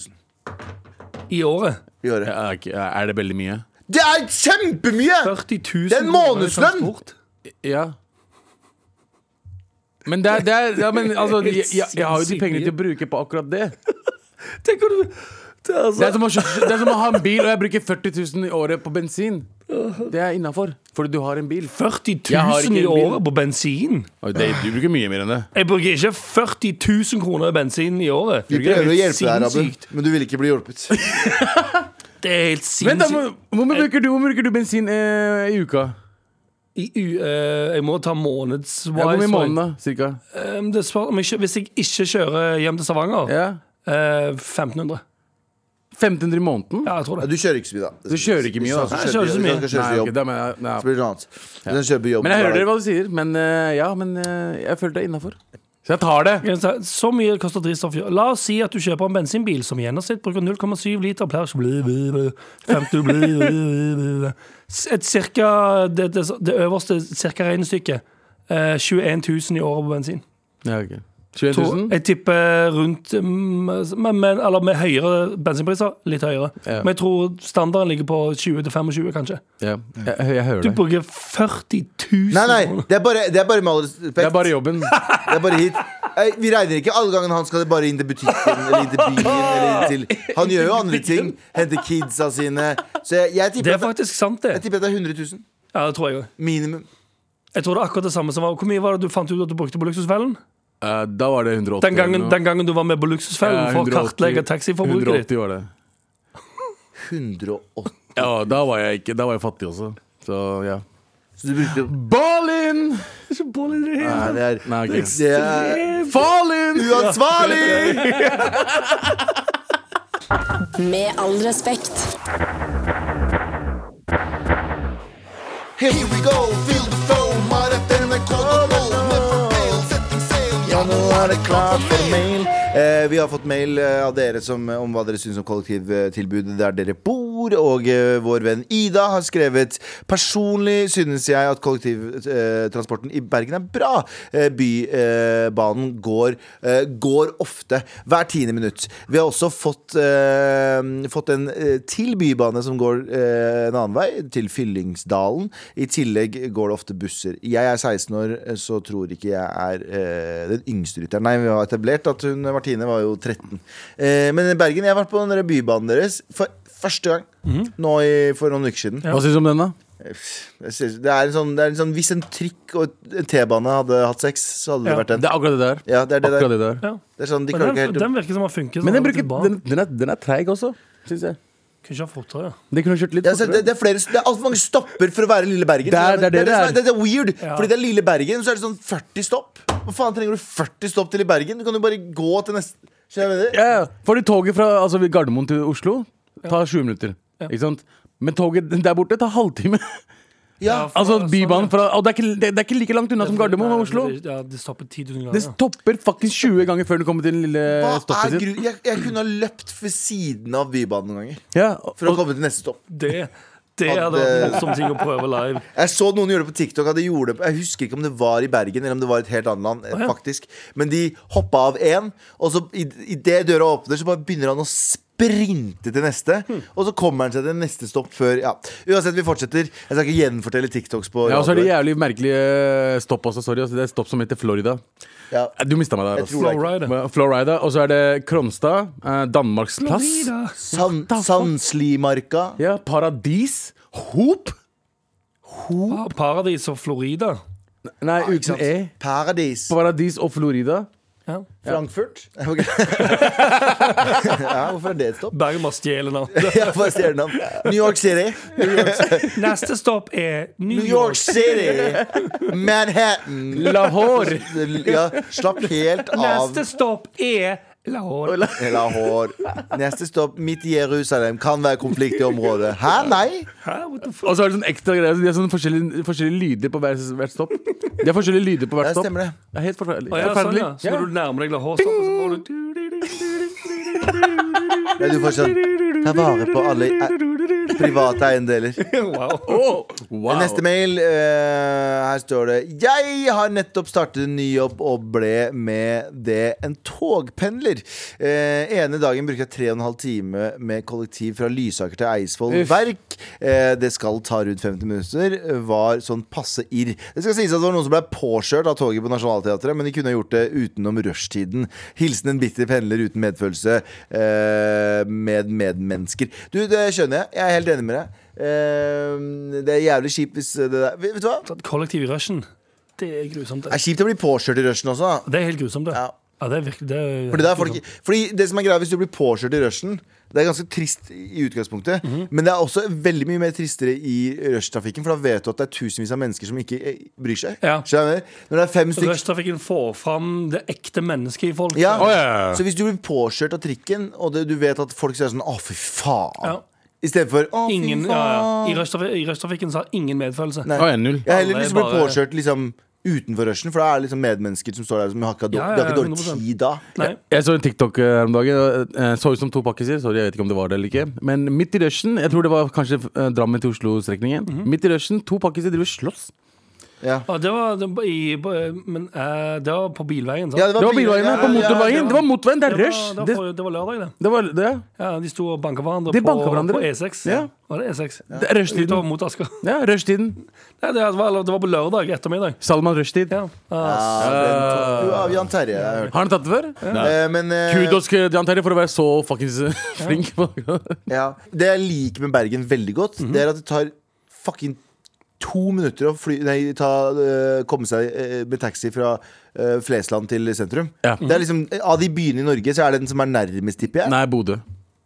I året.
i året.
Ja, er ikke- er det veldig mye?
Det er kjempemye!
40 000
Det er en
kroner i
månedslønn!
transport.
Ja. Men det er, det er ja, men, altså,
Det er helt
jeg, jeg, jeg har jo de
sinnssykt
pengene
mye.
til å bruke på akkurat det.
Tenk om du det er
Det er
altså,
som å, kjø- det er som å ha en bil, og jeg bruker 40 000 i året på bensin. Det er innafor, fordi du har en bil.
40
Jeg har ikke
000 i
en bil.
året på bensin?
du bruker mye mer enn det.
Jeg bruker ikke 40 000 kroner i bensin i året.
Vi
Det er
prøver å
helt
hjelpe deg,
sinnssykt.
Abu, men du vil ikke bli hjulpet.
Det er helt
Vent da,
sinnssykt.
hvor, hvor, mye bruker du, hvor mye bruker du bensin eh, i uka?
I, u- eh, jeg må ta
Ja, Hvor mye i
månedswise.
måneden, da? Cirka?
Ehm, det spør, om jeg, kjø- hvis jeg ikke kjører hjem til Stavanger,
Ja.
eh, 1500.
1500 i måneden?
Ja, jeg tror
Ja,
det.
du kjører ikke så mye, da.
Du kjører ikke mye, da.
Hvis han
Nei, jeg kjører ikke så mye.
skal
Nei,
kjøre til
ok,
jobb,
da, men, ja,
så blir det noe annet. Hvis han kjører på jobb
men jeg hører
hver dag.
dere hva du sier. Men eh, ja, men eh, jeg følte det er innafor. Så jeg tar det.
Jeg sa, Så mye koster drivstoff. La oss si at du kjøper en bensinbil som i gjennomsnitt bruker 0,7 liter per bli, bli, bli, 50 bli, bli, bli, bli. Et cirka, det, det, det øverste cirka regnestykket. Eh, 21 000 i året på bensin.
Ja, ok. 21
To,
000?
jeg tipper rundt mm, men, men, Eller med høyere bensinpriser. Litt høyere.
Ja.
Men jeg tror standarden ligger på 20-25, kanskje.
Ja. Jeg, jeg, jeg hører
Du
deg.
bruker 40 000
Nei, nei,
kroner.
det er bare, det er bare med all respekt.
Det er bare jobben.
Det er bare hit. Eh, Vi regner ikke alle gangene han skal bare inn til butikken eller inn til byen. Eller inn til. Han gjør jo andre ting. Henter kidsa sine. Så jeg, jeg,
Det
tipper
er
at,
faktisk sant,
jeg
det.
tipper at det er 100 000.
Ja, det tror jeg også.
Minimum.
Jeg tror det er akkurat det samme som var Hvor mye var det du fant ut at du brukte på Luksusfellen?
Eh, da var det 180.
Den gangen,
eller noe.
den gangen du var med på Luksusfellen
Ja,
for å
180
kartlegge taxiforbruket ditt.
180 var det.
180.
Ja, da var jeg ikke Da var jeg fattig også. Så ja.
Så du brukte jo
Ball in!
Det er så bolig det er.
Nei, det er,
Nei, ok.
det er
Fall in!
uansvarlig!
Med all respekt.
Here we go, feel the flow. Marathon er kodemål. Never fail, setting sail. Ja, nå er det klart for mail. Eh, vi har fått mail eh, av dere som, om hva dere syns om kollektivtilbudet der dere bor. Og eh, vår venn Ida har skrevet Personlig synes jeg at kollektivtransporten i Bergen er bra. Eh, Bybanen går, eh, går ofte. Hver tiende minutt. Vi har også fått, eh, fått en eh, til bybane som går eh, en annen vei, til Fyllingsdalen. I tillegg går det ofte busser. Jeg er 16 år, eh, så tror ikke jeg er eh, den yngste rytteren. Nei, vi har etablert at hun Martine var jo 13. Eh, men i Bergen, jeg har vært på den der bybanen deres for første gang.
Mhm.
Nå i, for noen uker siden.
Hva syns du om den, da?
Jeg synes- Det er en sånn, det er en sånn Hvis en trikk og en T-bane hadde hatt sex, så hadde det
Ja.
vært den.
Det er akkurat det der.
Ja, det er det der.
akkurat det der.
Ja.
Det er sånn, de
Men
klarer ikke
den,
helt å
den virker som har funket.
Men
sånn
den, bruker,
tilbake.
den, den, er, den er treig også, syns jeg.
Kunne ikke ha fortere. ja.
Den kunne kjørt litt
Ja, så det,
fortere.
det, er flere, det er altfor mange stopper for å være Lille Bergen.
Der- der
det, er det,
dere
som er-
er.
det, det er weird.
Ja.
Fordi det er Lille Bergen, så er det sånn 40 stopp. Hva faen trenger du 40 stopp til i Bergen? Du kan jo bare gå til neste Skjønner du hva jeg mener?
Ja, ja. Fordi toget fra altså, ved Gardermoen til Oslo tar 20 minutter. Ikke sant? Men toget der borte tar halvtime.
Ja.
Ja, for-
Altså
sånn,
Bybanen
ja.
fra Og det er ikke, det, det er ikke like langt unna som Gardermoen og Oslo.
Nei, det- Ja, det stopper 10 000
Det
ganger. ja.
stopper faktisk 20 ganger før den kommer til den lille
Hva er
stoppet sitt.
gru... Jeg, jeg kunne ha løpt ved siden av Bybanen noen ganger.
Ja, og,
For å komme til neste stopp.
Det, det
Ja,
er det
det-
morsomme ting å prøve live.
Jeg så noen gjøre det på TikTok. At de gjorde det på, jeg husker ikke om det var i Bergen eller om det var et helt annet land. eh, faktisk Men de hoppa av én, og så idet døra åpner, så bare begynner han å sprinte til neste.
Hmm.
Og så kommer han seg til neste stopp før Ja, Uansett, vi fortsetter. Jeg skal ikke gjenfortelle TikToks på
ja, og så er det
radioen.
jævlig merkelige stopp også. Sorry. Altså, det er stopp som heter Florida.
ja.
Eh, Du mista meg der.
Jeg tror
Altså.
Flowrider.
Florida. Og så er det Kronstad. Eh, Danmarks plass.
Florida.
San, Sandslimarka.
Ja, Paradis. Hop.
Pa- Paradis og Florida.
Nei,
Ah, Ikke
uten
sant?
E.
Paradis.
Paradis og Florida.
Ja.
Frankfurt. Ok. ja, hvorfor er det et stopp?
Bergen må stjele navn.
Ja, hva er stjernenavn? New York City.
Neste stopp er New,
New York City. Manhattan.
Lahore.
Ja, slapp helt av
Neste stopp er Lahore.
Lahore. Neste stopp midt i Jerusalem. Kan være konflikt i området. Hæ, nei?
Hæ, what the fuck?
Og så er det sånn ekstra greier. så De har sånne forskjellige, forskjellige lyder på hvert, hvert stopp. De har forskjellige lyder på hvert
Ja,
stopp.
stemmer det.
Det er helt forferdelig.
Å, ja, sånn,
Forferdelig.
ja. Så når du nærmer deg Lahore, så får du
Ja, du får sånn Ta vare på alle e- private eiendeler.
Wow.
Åh, wow.
Neste mail, eh, her står det Jeg har nettopp startet en ny jobb og ble med det en togpendler. Eh, ene dagen brukte jeg tre og en halv time med kollektiv fra Lysaker til Eidsvoll
Uff.
verk. Eh, det skal ta rundt 50 minutter. Var sånn passe irr. Det skal sies at det var noen som ble påkjørt av toget på Nationaltheatret, men de kunne ha gjort det utenom rushtiden. Hilsen en bitter pendler uten medfølelse eh, med medmennesker. Du, det skjønner jeg. Jeg er helt enig med deg. Eh, det er jævlig kjipt hvis det der Vet vet du hva?
Så at Kollektiv i rushen, det er grusomt.
Det
Det,
er kjipt å bli påkjørt i rushen også. da.
det er helt grusomt, det.
Ja.
Ja. det er virkelig det er
Fordi, det er folk, fordi det som er greia hvis du blir påkjørt i rushen Det er ganske trist i utgangspunktet Men det er også veldig mye mer tristere i rushtrafikken For da vet du at det er tusenvis av mennesker som ikke eh, bryr seg
Ja.
Skjønner du? Når det er fem stykker
Rushtrafikken får fram det ekte mennesket i folk.
ja.
Å, ja, ja.
Så hvis du blir påkjørt av trikken Og det, du vet at folk sier sånn Å fy faen
Ja.
I stedet for Å fy
Ingen,
faen
ja, ja. I rushtrafikken så har ingen medfølelse.
Nei.
Å, ja, null.
Jeg har heller
Alle
lyst til å bli
bare-
påkjørt liksom utenfor rushen, for da er det liksom medmennesker som står der som har ikke,
Ja, ja,
har ikke dårlig
100%.
tid da.
Nei.
Jeg så en TikTok her om dagen. og, eh, Så ut som to pakkiser. Sorry, jeg vet ikke om det var det eller ikke. Men midt i rushen, jeg tror det var kanskje eh, Drammen til Oslo-strekningen.
Mhm.
Midt i rushen, to pakkiser driver og slåss.
Ja.
Ja, det var, det, var i, på- men, eh, det var på bilveien, sant?
Ja,
Det var
ja,
bilveiene på
ja, ja,
motorveien.
det
det var motorveien, det er
det,
rush.
var, det,
Det,
var, det var lørdag, det.
det var det.
Ja, de sto og banka hverandre
De
på,
banket hverandre.
på E6.
Ja.
Var det E6?
Det er rushtiden.
Utover mot Asker.
Ja, rushtiden.
Nei, det var, det var på lørdag ettermiddag.
Salman rushtid.
Ja.
Ja,
Ah,
den tok du av Jan Terje, har jeg hørt.
Har han tatt det før?
Eh, Men eh,
Kudos til Jan Terje for å være så fuckings eh, flink. på
ja. det jeg liker med Bergen veldig godt, det er at det tar fucking to minutter å fly, nei, ta, eh, komme seg eh, med taxi fra eh, Flesland til sentrum.
Ja.
Det er liksom, Av de byene i Norge, så er det den som er nærmest, tipper jeg.
Nei, Bodø.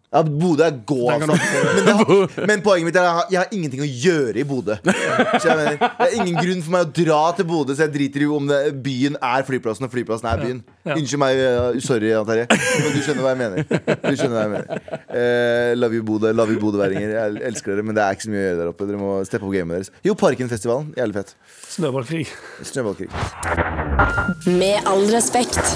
Ja, Bodø er gå, altså. Men, det har, men poenget mitt er at jeg har- jeg har ingenting å gjøre i Bodø. Så jeg mener, Det er ingen grunn for meg å dra til Bodø, så jeg driter i om det, byen er flyplassen og flyplassen er byen.
Ja.
Unnskyld meg, uh, sorry, Jan Terje, men du skjønner hva jeg mener. Du skjønner hva jeg mener Eh, Love you, Bodø. Love you, bodøværinger. Jeg elsker dere, men det er ikke så mye å gjøre der oppe. Dere må steppe opp gamet deres. Jo, Parkenfestivalen. Jævlig fett.
Snøballkrig.
Snøballkrig.
Med all respekt.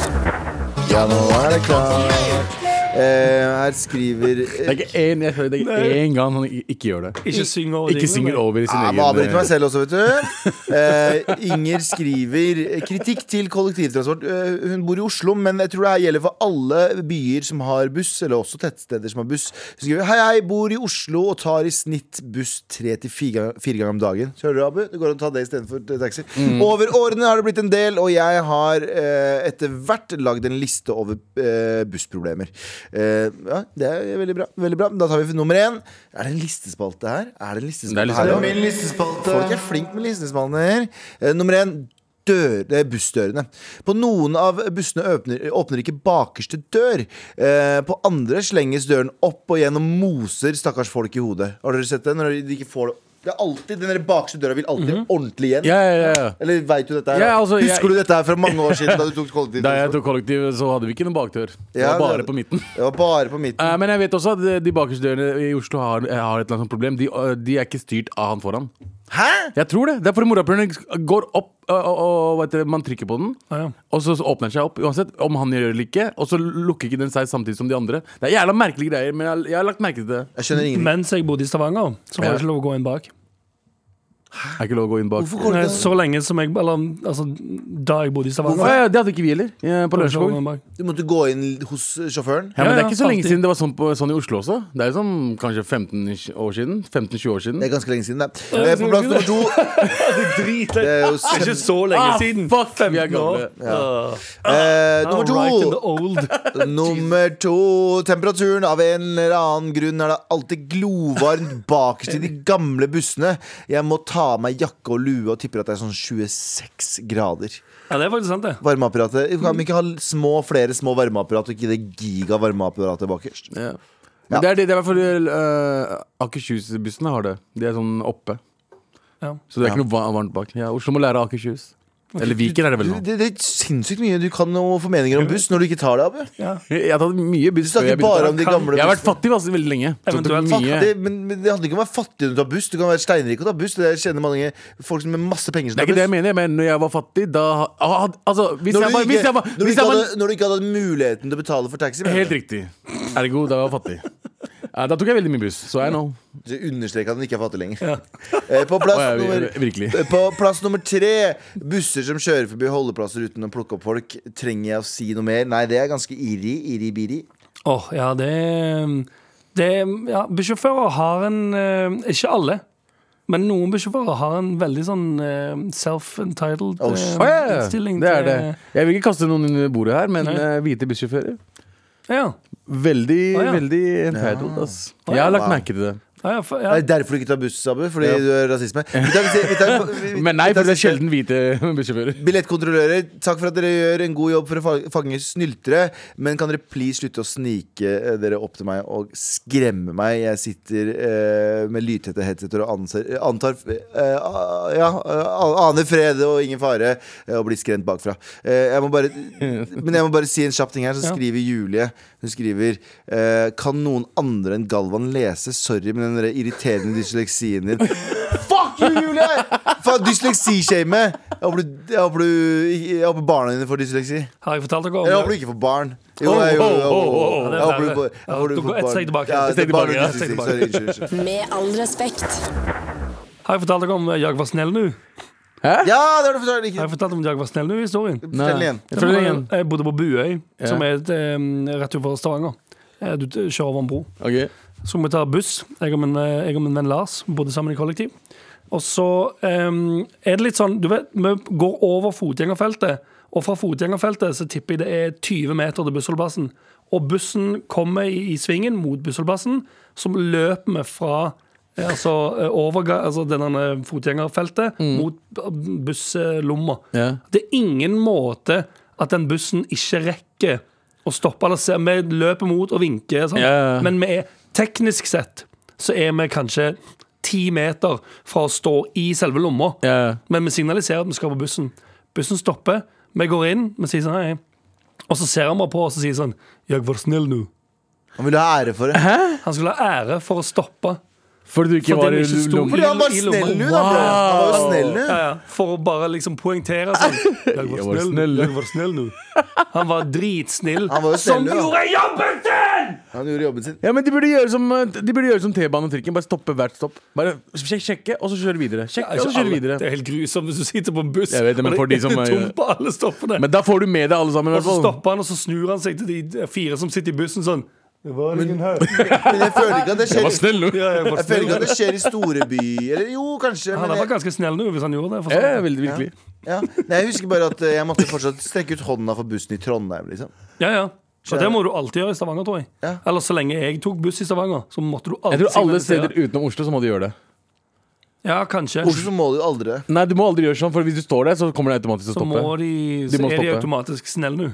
Ja, nå er det klart. Eh, her skriver
Det er ikke én jeg hører, det er ikke én gang han i- ikke gjør det.
Ikke syng over
Ikke
dine,
synger
men-
over i sin
Jeg Ah,
egen
må avbryte meg
eh,
selv også, vet du. Eh, Inger skriver eh, kritikk til kollektivtransport. Eh, hun bor i Oslo, men jeg tror det her gjelder for alle byer som har buss, eller også tettsteder som har buss. Hun skriver hei, hei, bor i Oslo og tar i snitt buss tre til fire gang- fire ganger om dagen. Så hører du, Abu, det går an å ta det istedenfor eh, taxi.
Mm.
Over årene har det blitt en del, og jeg har eh, etter hvert lagd en liste over eh, bussproblemer. Eh, ja, det er veldig bra. veldig bra. Da tar vi nummer én. Er det en listespalte her? Er det en
Det
listespalte
er
her?
listespalte.
også? Folk er flink med listespanner. Eh, nummer én. Dør, eh, bussdørene. På noen av bussene åpner, åpner ikke bakerste dør. Eh, på andre slenges døren opp og gjennom moser stakkars folk i hodet. Har dere sett det? Når de ikke får det Det er alltid Den der bakerste døra vil alltid ordentlig igjen.
Mhm. Ja, ja, ja, ja.
Eller veit du dette her?
Ja,
da?
altså, jeg-
Husker du dette her fra mange år siden da du tok kollektivt?
Da jeg tok kollektiv, så hadde vi ikke noen bakdør. Det
Ja,
var bare
det-
på midten.
Det var bare på midten.
Eh, men jeg vet også at eh, de bakerste dørene i Oslo har, eh, har et eller annet sånt problem. De, eh, de er ikke styrt av han foran.
Hæ?!
Jeg tror det. Det er fordi morapuleren går opp, eh, og, og hva heter det, man trykker på den.
Ah, ja.
Og så så åpner den seg opp uansett om han gjør det eller ikke. Og så lukker ikke den seg samtidig som de andre. Det er jævla merkelige greier, men jeg, har- jeg har lagt merke til det.
Jeg skjønner ingenting.
Mens jeg bodde i Stavanger, så var det
Ja.
ikke lov å gå inn bak.
Det er ikke lov å gå inn bak.
Hvorfor går
Nei,
det
Så lenge som jeg Eller altså, da jeg bodde
Å,
i Stavanger.
ja, det hadde ikke vi heller, eh, på
var det ikke lov å
Lørenskog.
gå inn bak.
Du måtte gå inn hos sjåføren?
Ja, men
Ja,
det
ja,
er ikke så lenge
alltid.
siden det var sånn, på, sånn i Oslo også. Det er jo sånn kanskje 15 år siden. 15-20 år siden.
Det er ganske lenge siden, det. Eh, På plass nummer to Det er jo
Det er ikke så lenge siden.
Ah, fuck, vi er gamle.
Eh, nummer
Ah, Right in the
to.
old.
Nummer to. Temperaturen. Av en eller annen grunn er det alltid glovarmt bakerst i de gamle bussene. Jeg må ta av meg jakke og lue og tipper at det er sånn 26 grader.
Ja, det er faktisk sant, det.
Varmeapparatet. Kan vi ikke ha små, flere små varmeapparat og ikke det giga varmeapparatet bakerst?
Ja. Men det er det, det er i hvert fall eh, Akershus-bussene har det. De er sånn oppe.
Ja.
Så det er ikke noe va- varmt bak. Ja, Oslo må lære av Akershus. Eller Viken er det vel
Du,
nå.
det, det er sinnssykt mye du kan å få meninger om buss når du ikke tar det, Abu.
Jeg har tatt mye buss.
Du snakker bare
før jeg begynte å ta-
om de gamle
Jeg har vært
bussene.
fattig altså, veldig lenge. Så jeg tok
Eventuelt
mye.
Det, men, men det handler ikke om å være fattig når du tar buss. Du kan være steinrik og ta buss. Det kjenner mange folk som med masse penger som
Det
tar
er ikke det
buss.
jeg mener, men når jeg var fattig, da ah, Altså, hvis
Når
jeg
du,
var, hvis
ikke,
jeg var,
når, du
hvis
ikke
jeg var
hadde, når du ikke hadde muligheten til å betale for taxi. mener
Helt
jeg.
riktig. Ergo, da var jeg fattig. Ja, da tok jeg veldig mye buss. Så jeg nå.
Så understreker at den ikke er fattig lenger. Eh, På, plass
Å, ja, vi-
nummer,
virkelig.
eh, på plass nummer tre busser som kjører forbi holdeplasser uten å plukke opp folk. Trenger jeg å si noe mer? Nei, det er ganske irri. Irri-biri.
Åh, ja, det det, ja, Bussjåfører har en eh, Ikke alle, men noen bussjåfører har en veldig sånn eh, self-entitled
Oh,
eh,
shit.
Å, ja, ja.
innstilling
Det er det. Jeg vil ikke kaste noen under bordet her, men
Nei.
eh, hvite bussjåfører
til eh, Ja,
Veldig,
Å, ja.
veldig entitled, ass. Jeg har lagt
Wow.
merke til det.
ja, ja, for,
Det
ja.
er derfor du ikke tar buss, Abu. Fordi
Ja.
du er rasisme. Vi tar, vi tar, vi tar, vi,
Men nei,
vi tar-
for det er sjelden hvite bussjåfører.
Billettkontrollører, takk for at dere gjør en god jobb for å fa- fange snyltere. Men kan dere please slutte å snike eh, dere opp til meg og skremme meg? Jeg sitter eh, med lydtette headseter og anser, antar eh, a- Ja, eh, aner fred og ingen fare eh, og blir skremt bakfra. Eh, jeg må bare, men jeg må bare si en kjapp ting her. Så
Ja.
skriver Julie Hun skriver eh, Kan noen andre enn Galvan lese? Sorry med den der irriterende dysleksien din. Fuck you, Julie! Fuck Faen, dysleksishame! Jeg håper du- jeg håper du- jeg håper barna dine får dysleksi.
Har jeg fortalt dere om
Eller jeg håper du ikke får barn. Jo,
Oh,
jeg- jo, jo,
oh, oh, oh,
jo.
oh.
Jeg håper du får- jeg
Ja,
håper du
du
får
går ett
barn.
steg tilbake.
Ja,
Et steg
barn
tilbake,
med
ja, et steg
dysleksi.
tilbake.
Sorry, unnskyld, unnskyld.
Med all respekt.
Har jeg fortalt dere om eh, jeg var snill nå?
Ja, det har du forstått.
Har
Ikke
jeg fortalt om jeg var snill nå i historien?
Fortell igjen.
Jeg føler det igjen.
Jeg bodde på Buøy, som er et, eh, rett utenfor Stavanger. Eh, Du t- kjører over en bro.
Ok.
Så vi tar buss. Jeg og min, eh, jeg og min venn Lars bodde sammen i kollektiv. Og så em, er det litt sånn Du vet, vi går over fotgjengerfeltet, og fra fotgjengerfeltet så tipper jeg det er 20 meter til bussholdeplassen. Og bussen kommer i, i svingen mot bussholdeplassen, som løper vi fra eh, altså, eh, overga, altså denne fotgjengerfeltet mot eh, busslomma.
Mm. Ja.
Det er ingen måte at den bussen ikke rekker å stoppe. Eller se. Vi løper mot og vinker. Sånn.
Ja, ja.
Men vi er, teknisk sett så er vi kanskje ti meter fra å stå i selve lomma.
Ja.
Men vi signaliserer at vi skal på bussen. Bussen stopper, vi går inn, vi sier sånn hei. Og så ser han bare på oss og sier sånn Jeg var snill nå.
Han vil ha ære for det.
Han skulle ha ære for å stoppe.
Fordi du ikke
Fordi
var
vi
i
ikke sto
lommen?
Fordi han var
I lomma.
snill nå, da, bro. Han var jo snill nå.
Ja, ja. For å bare liksom poengtere sånn. Jeg var,
Jeg var
snill,
snill.
Jeg var snill nå. Han var dritsnill.
Han var jo
som
snill, da.
gjorde jobben sin!
Han gjorde jobben sin.
Ja, men De burde gjøre som, eh, de burde gjøre som T-banetrikken. Bare stoppe hvert stopp. Bare sjek- sjekke, og så kjøre videre. Sjekke, og så kjøre videre
Det er helt grusomt hvis du sitter på en buss
Jeg vet det, men
og
for de som
er
er-
tomt på alle stoppene.
Men da får du med deg alle sammen. i
og
hvert
så
fall.
stopper han, og så snur han seg til de fire som sitter i bussen sånn. Det var ingen her.
Men jeg føler ikke at det
Jeg
skjer
var snill, nå.
Ja, jeg var
Jeg føler ikke
snill.
at det skjer i store by Eller jo, kanskje
Han
men
var
jeg,
ganske snill nå hvis han gjorde det. For
Ja,
sånn.
veldig, virkelig.
ja. Nei, jeg husker bare at eh, jeg måtte fortsatt strekke ut hånda for bussen i Trondheim liksom.
Ja, ja. Og det må du alltid gjøre i Stavanger, tror jeg.
Ja.
Eller så lenge jeg tok buss i Stavanger, så måtte du alltid
Jeg tror alle
signalisere.
steder utenom Oslo så må du gjøre det.
Ja, kanskje.
Oslo så må du aldri det.
Nei, du må aldri gjøre sånn, for hvis du står der, så kommer det automatisk til å
Så
stoppe.
må de,
De
så
må
er de
stoppe. Mm.
automatisk snille nå.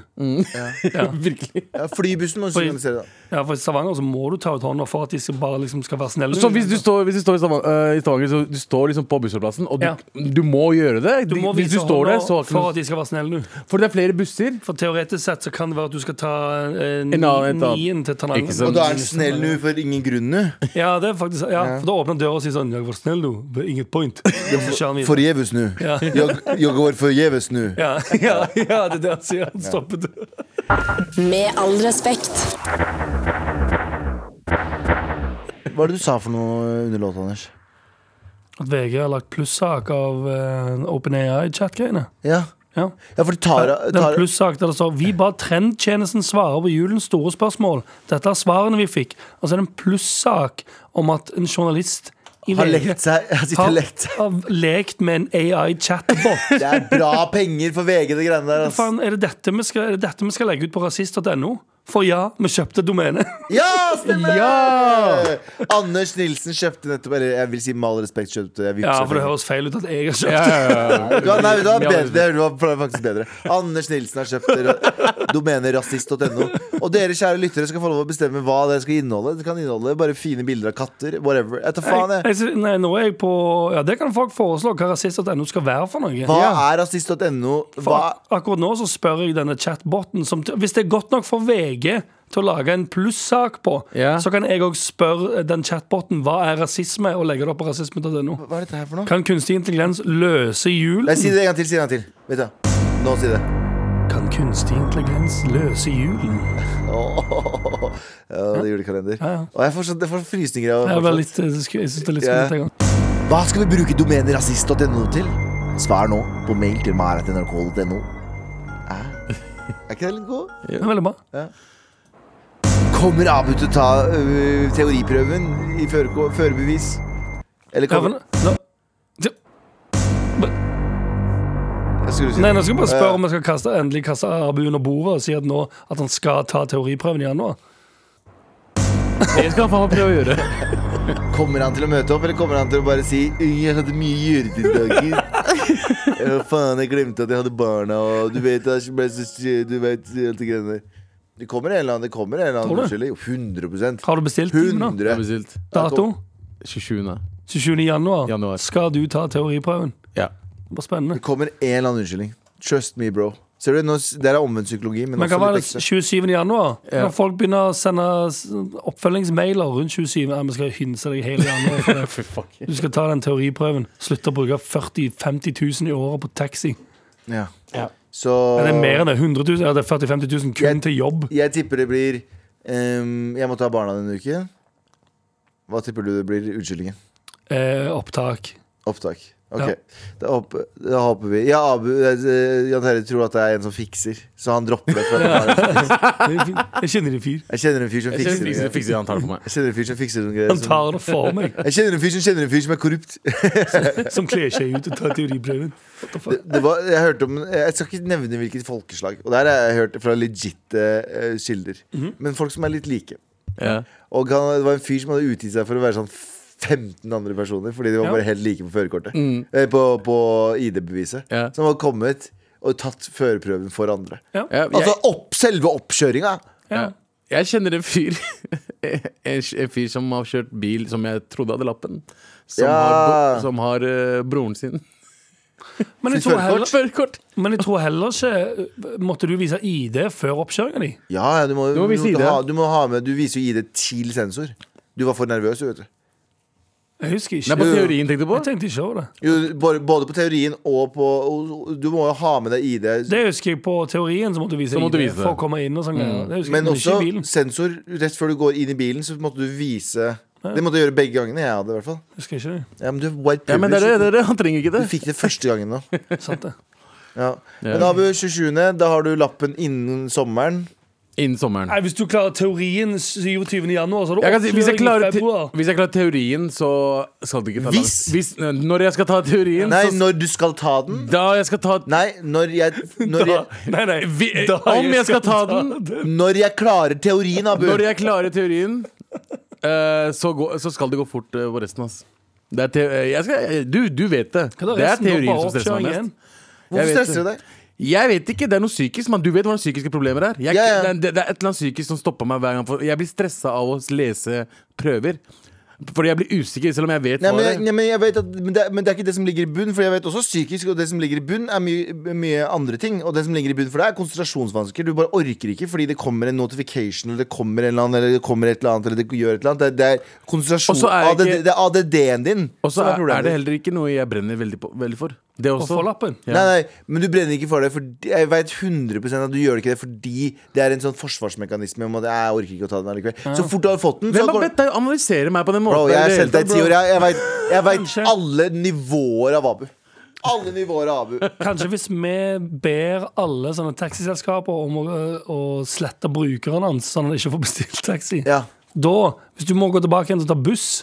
Virkelig
ja, Flybussen må du
Fordi-
signalisere da
Ja, for i Stavanger så må du ta ut hånda for at de skal bare liksom skal være snille.
Så hvis du står, hvis du står i Stavanger, øh, i Stavanger, så du står liksom på bussholdeplassen, og du,
Ja.
du må gjøre det
Du må
Hvis
vise
du står der,
hånda
så har ikke
for
noe
at de skal være snille nå.
For det er flere busser.
For teoretisk sett så kan det være at du skal ta eh, ni,
En annen etat.
nien til Tananger.
Ikke sant.
Og da er den snill nå for ingen grunn nå
Ja, det er faktisk, ja, for da åpner døra og sier sånn 'Jeg var snill, du. Det er Inget point.' Så kjører han videre.
Forgjeves nå
Ja.
Jeg jeg går forgjeves nå
Ja, ja, ja, det er det han sier. Han stopper døra.
Med all respekt.
Hva er det du sa for noe under låt, Anders?
At VG har lagt plussak av uh, OpenAI-chat-greiene.
Ja,
Ja.
ja for Tara,
Den
Tara
plussak der det står 'Vi ba trendtjenesten svare på julens store spørsmål'. Dette er svarene vi fikk. Og så er det en plussak om at en journalist i
har
VG
lekt seg Jeg sitter
har,
og lekt seg
har lekt med en AI-chatbot.
Det er bra penger for VG det greiene der ass.
Faen, er det dette vi skal, er det dette vi skal legge ut på rasist.no? For ja, vi kjøpte domenet.
Ja, stemmer!
Ja!
Anders Nilsen kjøpte nettopp Eller jeg vil si med all respekt kjøpte jeg
Ja,
vippset
for det
penger.
høres feil ut at jeg
Ja,
har kjøpt.
ja, ja.
Du har- nei, vet du hva?
Ja,
Bedre, det var faktisk bedre. Anders Nilsen har kjøpt ra- domenet rasist.no. Og dere kjære lyttere skal få lov å bestemme hva det skal inneholde. Det kan inneholde bare fine bilder av katter. Whatever. Jeg tar faen, jeg.
Jeg, jeg, nei, nå er jeg på Ja, det kan folk foreslå hva rasist.no skal være for noe.
Hva er rasist.no? Hva
Ak- Akkurat nå så spør jeg denne chatboten som Hvis det er godt nok for VG til å lage en plussak på,
Ja.
så kan jeg òg spørre den chatboten hva er rasisme, og legge det opp på rasisme.no.
Hva er dette her for noe?
Kan kunstig intelligens løse
Nei,
julen?
si det en gang til. Si det en gang til. Vet du. hva? Nå si det.
Kan kunstig intelligens løse julen?
Åh, Ja, det er julekalender.
Ja, ja.
Og jeg får, så, jeg får frysninger av
Jeg, ble litt, eh, jeg synes det er litt
Ja.
skummelt en gang.
Hva skal vi bruke domenet rasist.no til? Svar nå på mail til maratnrk.no. Er ikke det litt god?
Det er veldig bra.
Kommer Abu til å ta ø, teoriprøven i førerko- førerbevis? Eller
Ja, men,
kommer
nå,
Jeg skulle si
nei,
det.
nå skal jeg bare spørre om jeg skal kaste, endelig kaste Abu under bordet og si at, nå, at han skal ta teoriprøven i januar.
Det skal han faen meg prøve å gjøre.
Eh, Kommer han til å møte opp, eller kommer han til å bare si «Øy, 'Jeg hadde mye juletildager'. Ja, faen, jeg glemte at jeg hadde barna, og du vet jeg ble så sy- Du vet alt det greiene der. Det kommer en eller annen det kommer en eller annen
Tror du?
unnskyldning. 100
Har du bestilt timen nå?
100
Bestilt.
Dato?
27.
27. Januar.
Januar.
Skal du ta teoriprøven?
Ja.
Det var spennende.
Det kommer en eller annen unnskyldning. Trust me, bro. Ser du, nå, s- Det er omvendt psykologi. Men,
Men hva
også
var
litt
det
ekstra.
27. januar? Når folk begynner å sende s- oppfølgingsmailer rundt 27. Ja, vi skal hinse deg hele januar for det. Du skal ta den teoriprøven. Slutt å bruke 40 000-50 000 i året på taxi.
Ja.
Ja.
Så
Er det mer enn det? 100 000? Ja, det er 40 000-50 000 kun
Jeg-
til jobb.
Jeg tipper det blir ehm, Jeg må ta barna denne uken. Hva tipper du det blir unnskyldningen?
Eh, opptak.
Opptak. Ok,
Ja.
da, håper, da håper vi Ja, Abu, eh, Jan Terje tror at det er en som fikser, så han dropper det. For at han har en fiks.
Jeg kjenner det fyr.
jeg kjenner en fyr som
Jeg
fikser
kjenner fikser-
det.
fikser han tar det på meg.
Jeg kjenner en fyr som fikser noen
Han
greier. Som,
tar det for meg,
jeg kjenner en fyr som kjenner en fyr som er korrupt.
som kler seg ut og tar teoriprøven. What the
Det,
fuck?
det var, jeg hørte om Jeg skal ikke nevne hvilket folkeslag, og det her har jeg hørt fra legitte eh, kilder. Men folk som er litt like.
Ja.
Og han, det var en fyr som hadde utgitt seg for å være sånn 15 andre personer, fordi de var
Ja.
bare helt like på førerkortet. Eh, på på ID-beviset.
Mm. Ja.
Så han var kommet og tatt førerprøven for andre.
Ja, jeg,
Altså opp, selve oppkjøringa!
Ja.
ja. jeg kjenner en fyr En en fyr som har kjørt bil som jeg trodde hadde lappen. Som
Ja.
har, bo- som har eh, broren sin.
Men, jeg tror heller,
Førerkort!
men jeg tror heller ikke Måtte du vise ID før oppkjøringa di?
Ja, ja, du må,
Du må vise
du,
ID.
ha, du må ha med Du viser jo ID til sensor. Du var for nervøs, du, vet du.
Jeg husker
Nei,
ikke.
på teorien tenkte du på?
Jeg tenkte ikke over det.
Jo, både, både på teorien og på og, Du må jo ha med deg ID.
Det husker jeg på teorien, så måtte du vise
Så måtte du
ID
vise Mm. det.
for å komme inn. og sånn greier. Det husker jeg,
Men
men
også
ikke i bilen.
sensor. Rett før du går inn i bilen, så måtte du vise Det måtte du gjøre begge gangene. Jeg hadde i hvert fall.
Husker jeg ikke
Ja, men du er white
Ja, men det er det, det
privilege.
er det. Han trenger ikke
Du
det.
fikk det første gangen nå.
det. Sant det.
Ja.
Ja.
Men Abu, 27., da har du lappen innen sommeren.
Innen sommeren.
Nei, Hvis du klarer teorien 27. januar, så har du
Jeg kan si, hvis, jeg klarer,
oppkjøring i
te
februar.
hvis jeg klarer teorien, så skal det ikke ta lang-
Hvis-
hvis Når jeg skal ta teorien,
Nei,
så
når du skal ta den.
Da jeg skal ta
Nei, når jeg Når
Da,
jeg,
nei, nei.
vi, Om jeg skal ta den
når jeg klarer teorien, Abu.
Når jeg klarer teorien, eh, så, gå- så skal det gå fort eh, på resten, ass. Det er te eh, jeg skal, du, du vet det.
Hva da,
Det er
resten? Da
teorien
bare
som stresser meg
oppkjøring
mest.
Hvorfor
jeg vet
stresser du deg?
Jeg vet ikke, Det er noe psykisk, men du vet hvordan psykiske problemer er. Jeg,
Ja, ja.
Det, det er et eller annet psykisk som stopper meg hver gang. For jeg blir stressa av å lese prøver. Fordi jeg blir usikker, selv om jeg vet
Nei, men, jeg-
svaret.
nei, men, jeg vet at, men, det, er- men det er ikke det som ligger i bunn, for jeg vet også psykisk, og det som ligger i bunn, er mye, mye andre ting. Og det som ligger i bunn for deg, er konsentrasjonsvansker. Du bare orker ikke fordi det kommer en notification, eller det kommer, en eller annen, eller det kommer et eller annet, eller det gjør et eller annet. Det, er- det er
Og
konsentrasjon
så er
ADD,
det ikke-
Det er ADD-en din
Og så
som
er,
problemet
er det
ditt.
heller ikke noe jeg brenner veldig, på, veldig for. Det
Og
også.
forlappen.
Ja.
Nei, nei, men du brenner ikke for det. For jeg veit 100 at du gjør ikke det fordi det er en sånn forsvarsmekanisme om at jeg orker ikke å ta den allikevel. Så fort du har fått den, så
Hvem har
går
bedt deg å analysere meg på den måten?
Bro, jeg har
i det
kjent deg i ti
hele
år. Jeg,
tatt,
jeg vet- jeg veit
Kanskje.
alle nivåer av Abu. Alle nivåer av Abu.
Kanskje hvis vi ber alle sånne taxiselskaper om å, eh, å slette brukeren hans, sånn at han ikke får bestilt taxi.
Ja.
Da, hvis du må gå tilbake igjen og ta buss,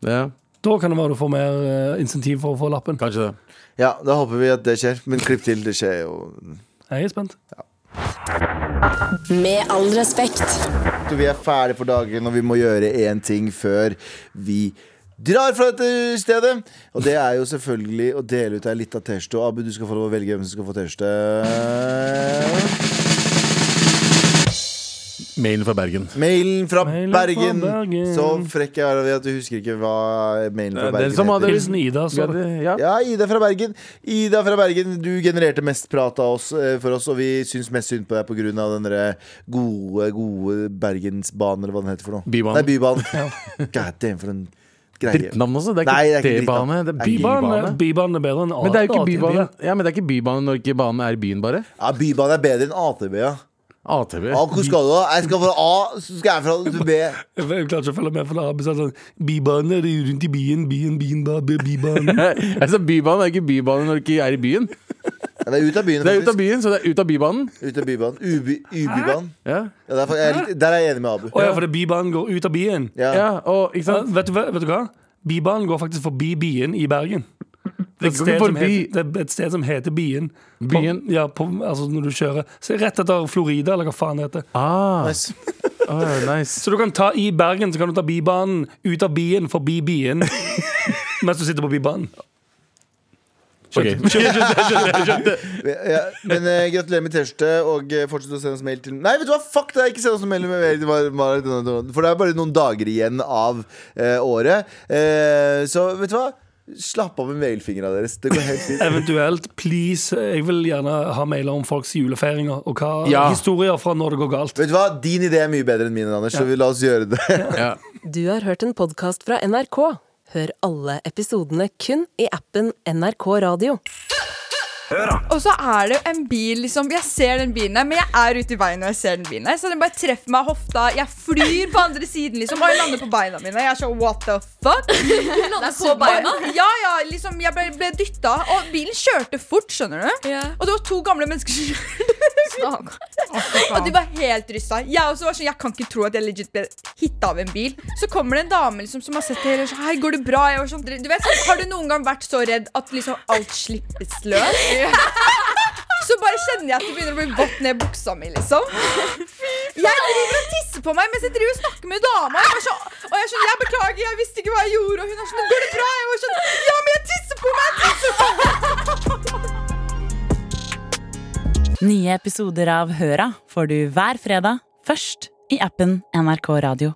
bro. Ja,
da kan det være du får mer eh, insentiv for å få lappen.
kanskje det.
ja, da håper vi at det skjer. Men klipp til, det skjer jo.
Jeg er spent.
Med all respekt.
Så Vi er ferdige for dagen, og vi må gjøre én ting før vi drar fra dette stedet. Og det er jo selvfølgelig å dele ut ei lita T-skjorte. Og Abu, du skal få lov å velge hvem som skal få T-skjorte.
Mailen fra Bergen.
Mailen fra
Mailen fra
Bergen.
Bergen.
Så frekk jeg er av at du husker ikke hva mailen fra
Ja, den
Bergen
Eh, som hadde-
Hilsen Ida. Så.
Ja.
Ja, Ida fra Bergen. Ida fra Bergen, du genererte mest prat av oss eh, for oss, og vi syns mest synd på deg pga. den derre gode, gode Bergensbanen, eller hva den heter for noe.
Bybanen.
Nei, Bybanen. God damn, for en greie.
Drittnavn også. Det er
Nei, det er
ikke
ikke
T-bane, det er
Bybanen
bybane.
bybanen er bedre enn
Men det er jo ikke
ATB.
bybane Ja, men det er ikke bybane når ikke banen er i byen, bare.
Ja, Bybanen er bedre enn AtB, ja.
ATV.
Ah, hvor skal du, da? Jeg skal fra A, så skal jeg fra til B.
Jeg klarer ikke å følge med, for det har bestemt sånn Bybane er rundt i byen, byen, byen, ba- by- bybanen.
altså, bybanen er ikke bybane når ikke er i byen.
Ja, det er ut av byen,
Det er ut av
faktisk.
byen, så det er ut av bybanen.
Ut av Bybanen. Uby- Ubybanen.
Ja,
Ja, der, er, jeg- der er jeg enig med Abu.
Å ja, fordi bybanen går ut av byen.
Ja.
ja og ikke
Ja,
sant?
vet, du, hva- vet du hva? Bybanen går faktisk forbi Bien i Bergen. Det er,
går
et sted
ikke
som
forbi.
heter, det er et sted som heter Bien. På-
Bien?
Ja, på, altså når du kjører Så Rett etter Florida, eller hva faen det heter.
Ah,
Nice.
ah, nice.
Så du kan ta i Bergen, så kan du ta Bybanen ut av Bien, forbi Bien, mens du sitter på Bybanen.
Ok.
Ja, men eh, gratulerer med T-skjorte, og eh, fortsett å sende oss mail til Nei, vet du hva, fuck det! Ikke send oss noen mail, med mail det var- var- For det er bare noen dager igjen av eh, året. Eh, så vet du hva? Slapp av med mailfingra deres. Det går helt fint.
Eventuelt, please, jeg vil gjerne ha mailer om folks julefeiringer og hva
Ja.
historier fra når det går galt.
Vet du hva? Din idé er mye bedre enn min, Anders, så vi la oss gjøre det.
Ja.
Du har hørt en podkast fra NRK. Hør alle episodene kun i appen NRK Radio.
Og så er det jo en bil liksom Jeg ser den bilen her, men jeg er ute i veien når jeg ser den bilen her. Så den bare treffer meg i hofta. Jeg flyr på andre siden, liksom. Og jeg lander på beina mine. Jeg er sånn what the fuck?
Lande på beina.
Ja, ja, liksom. Jeg ble, ble dytta, og bilen kjørte fort, skjønner du.
Ja.
Og det var to gamle mennesker som kjørte. og de var helt rysta. Jeg også var sånn, jeg kan ikke tro at jeg legit ble hitta av en bil. Så kommer det en dame liksom, som har sett det hele og sånn Hei, går det bra? Jeg var sånn, du vet, sånn, har du noen gang vært så redd at liksom alt slippes løs? Så bare kjenner jeg at det begynner å bli vått ned i buksa mi, liksom. Jeg driver og tisser på meg mens jeg driver og snakker med dama. Jeg var så, og jeg er sånn, jeg beklager, jeg visste ikke hva jeg gjorde. Og hun er sånn, går det bra? Jeg var sånn, ja, men jeg tisser på meg! Jeg tisser på meg!
Nye episoder av Høra får du hver fredag, først i appen NRK Radio.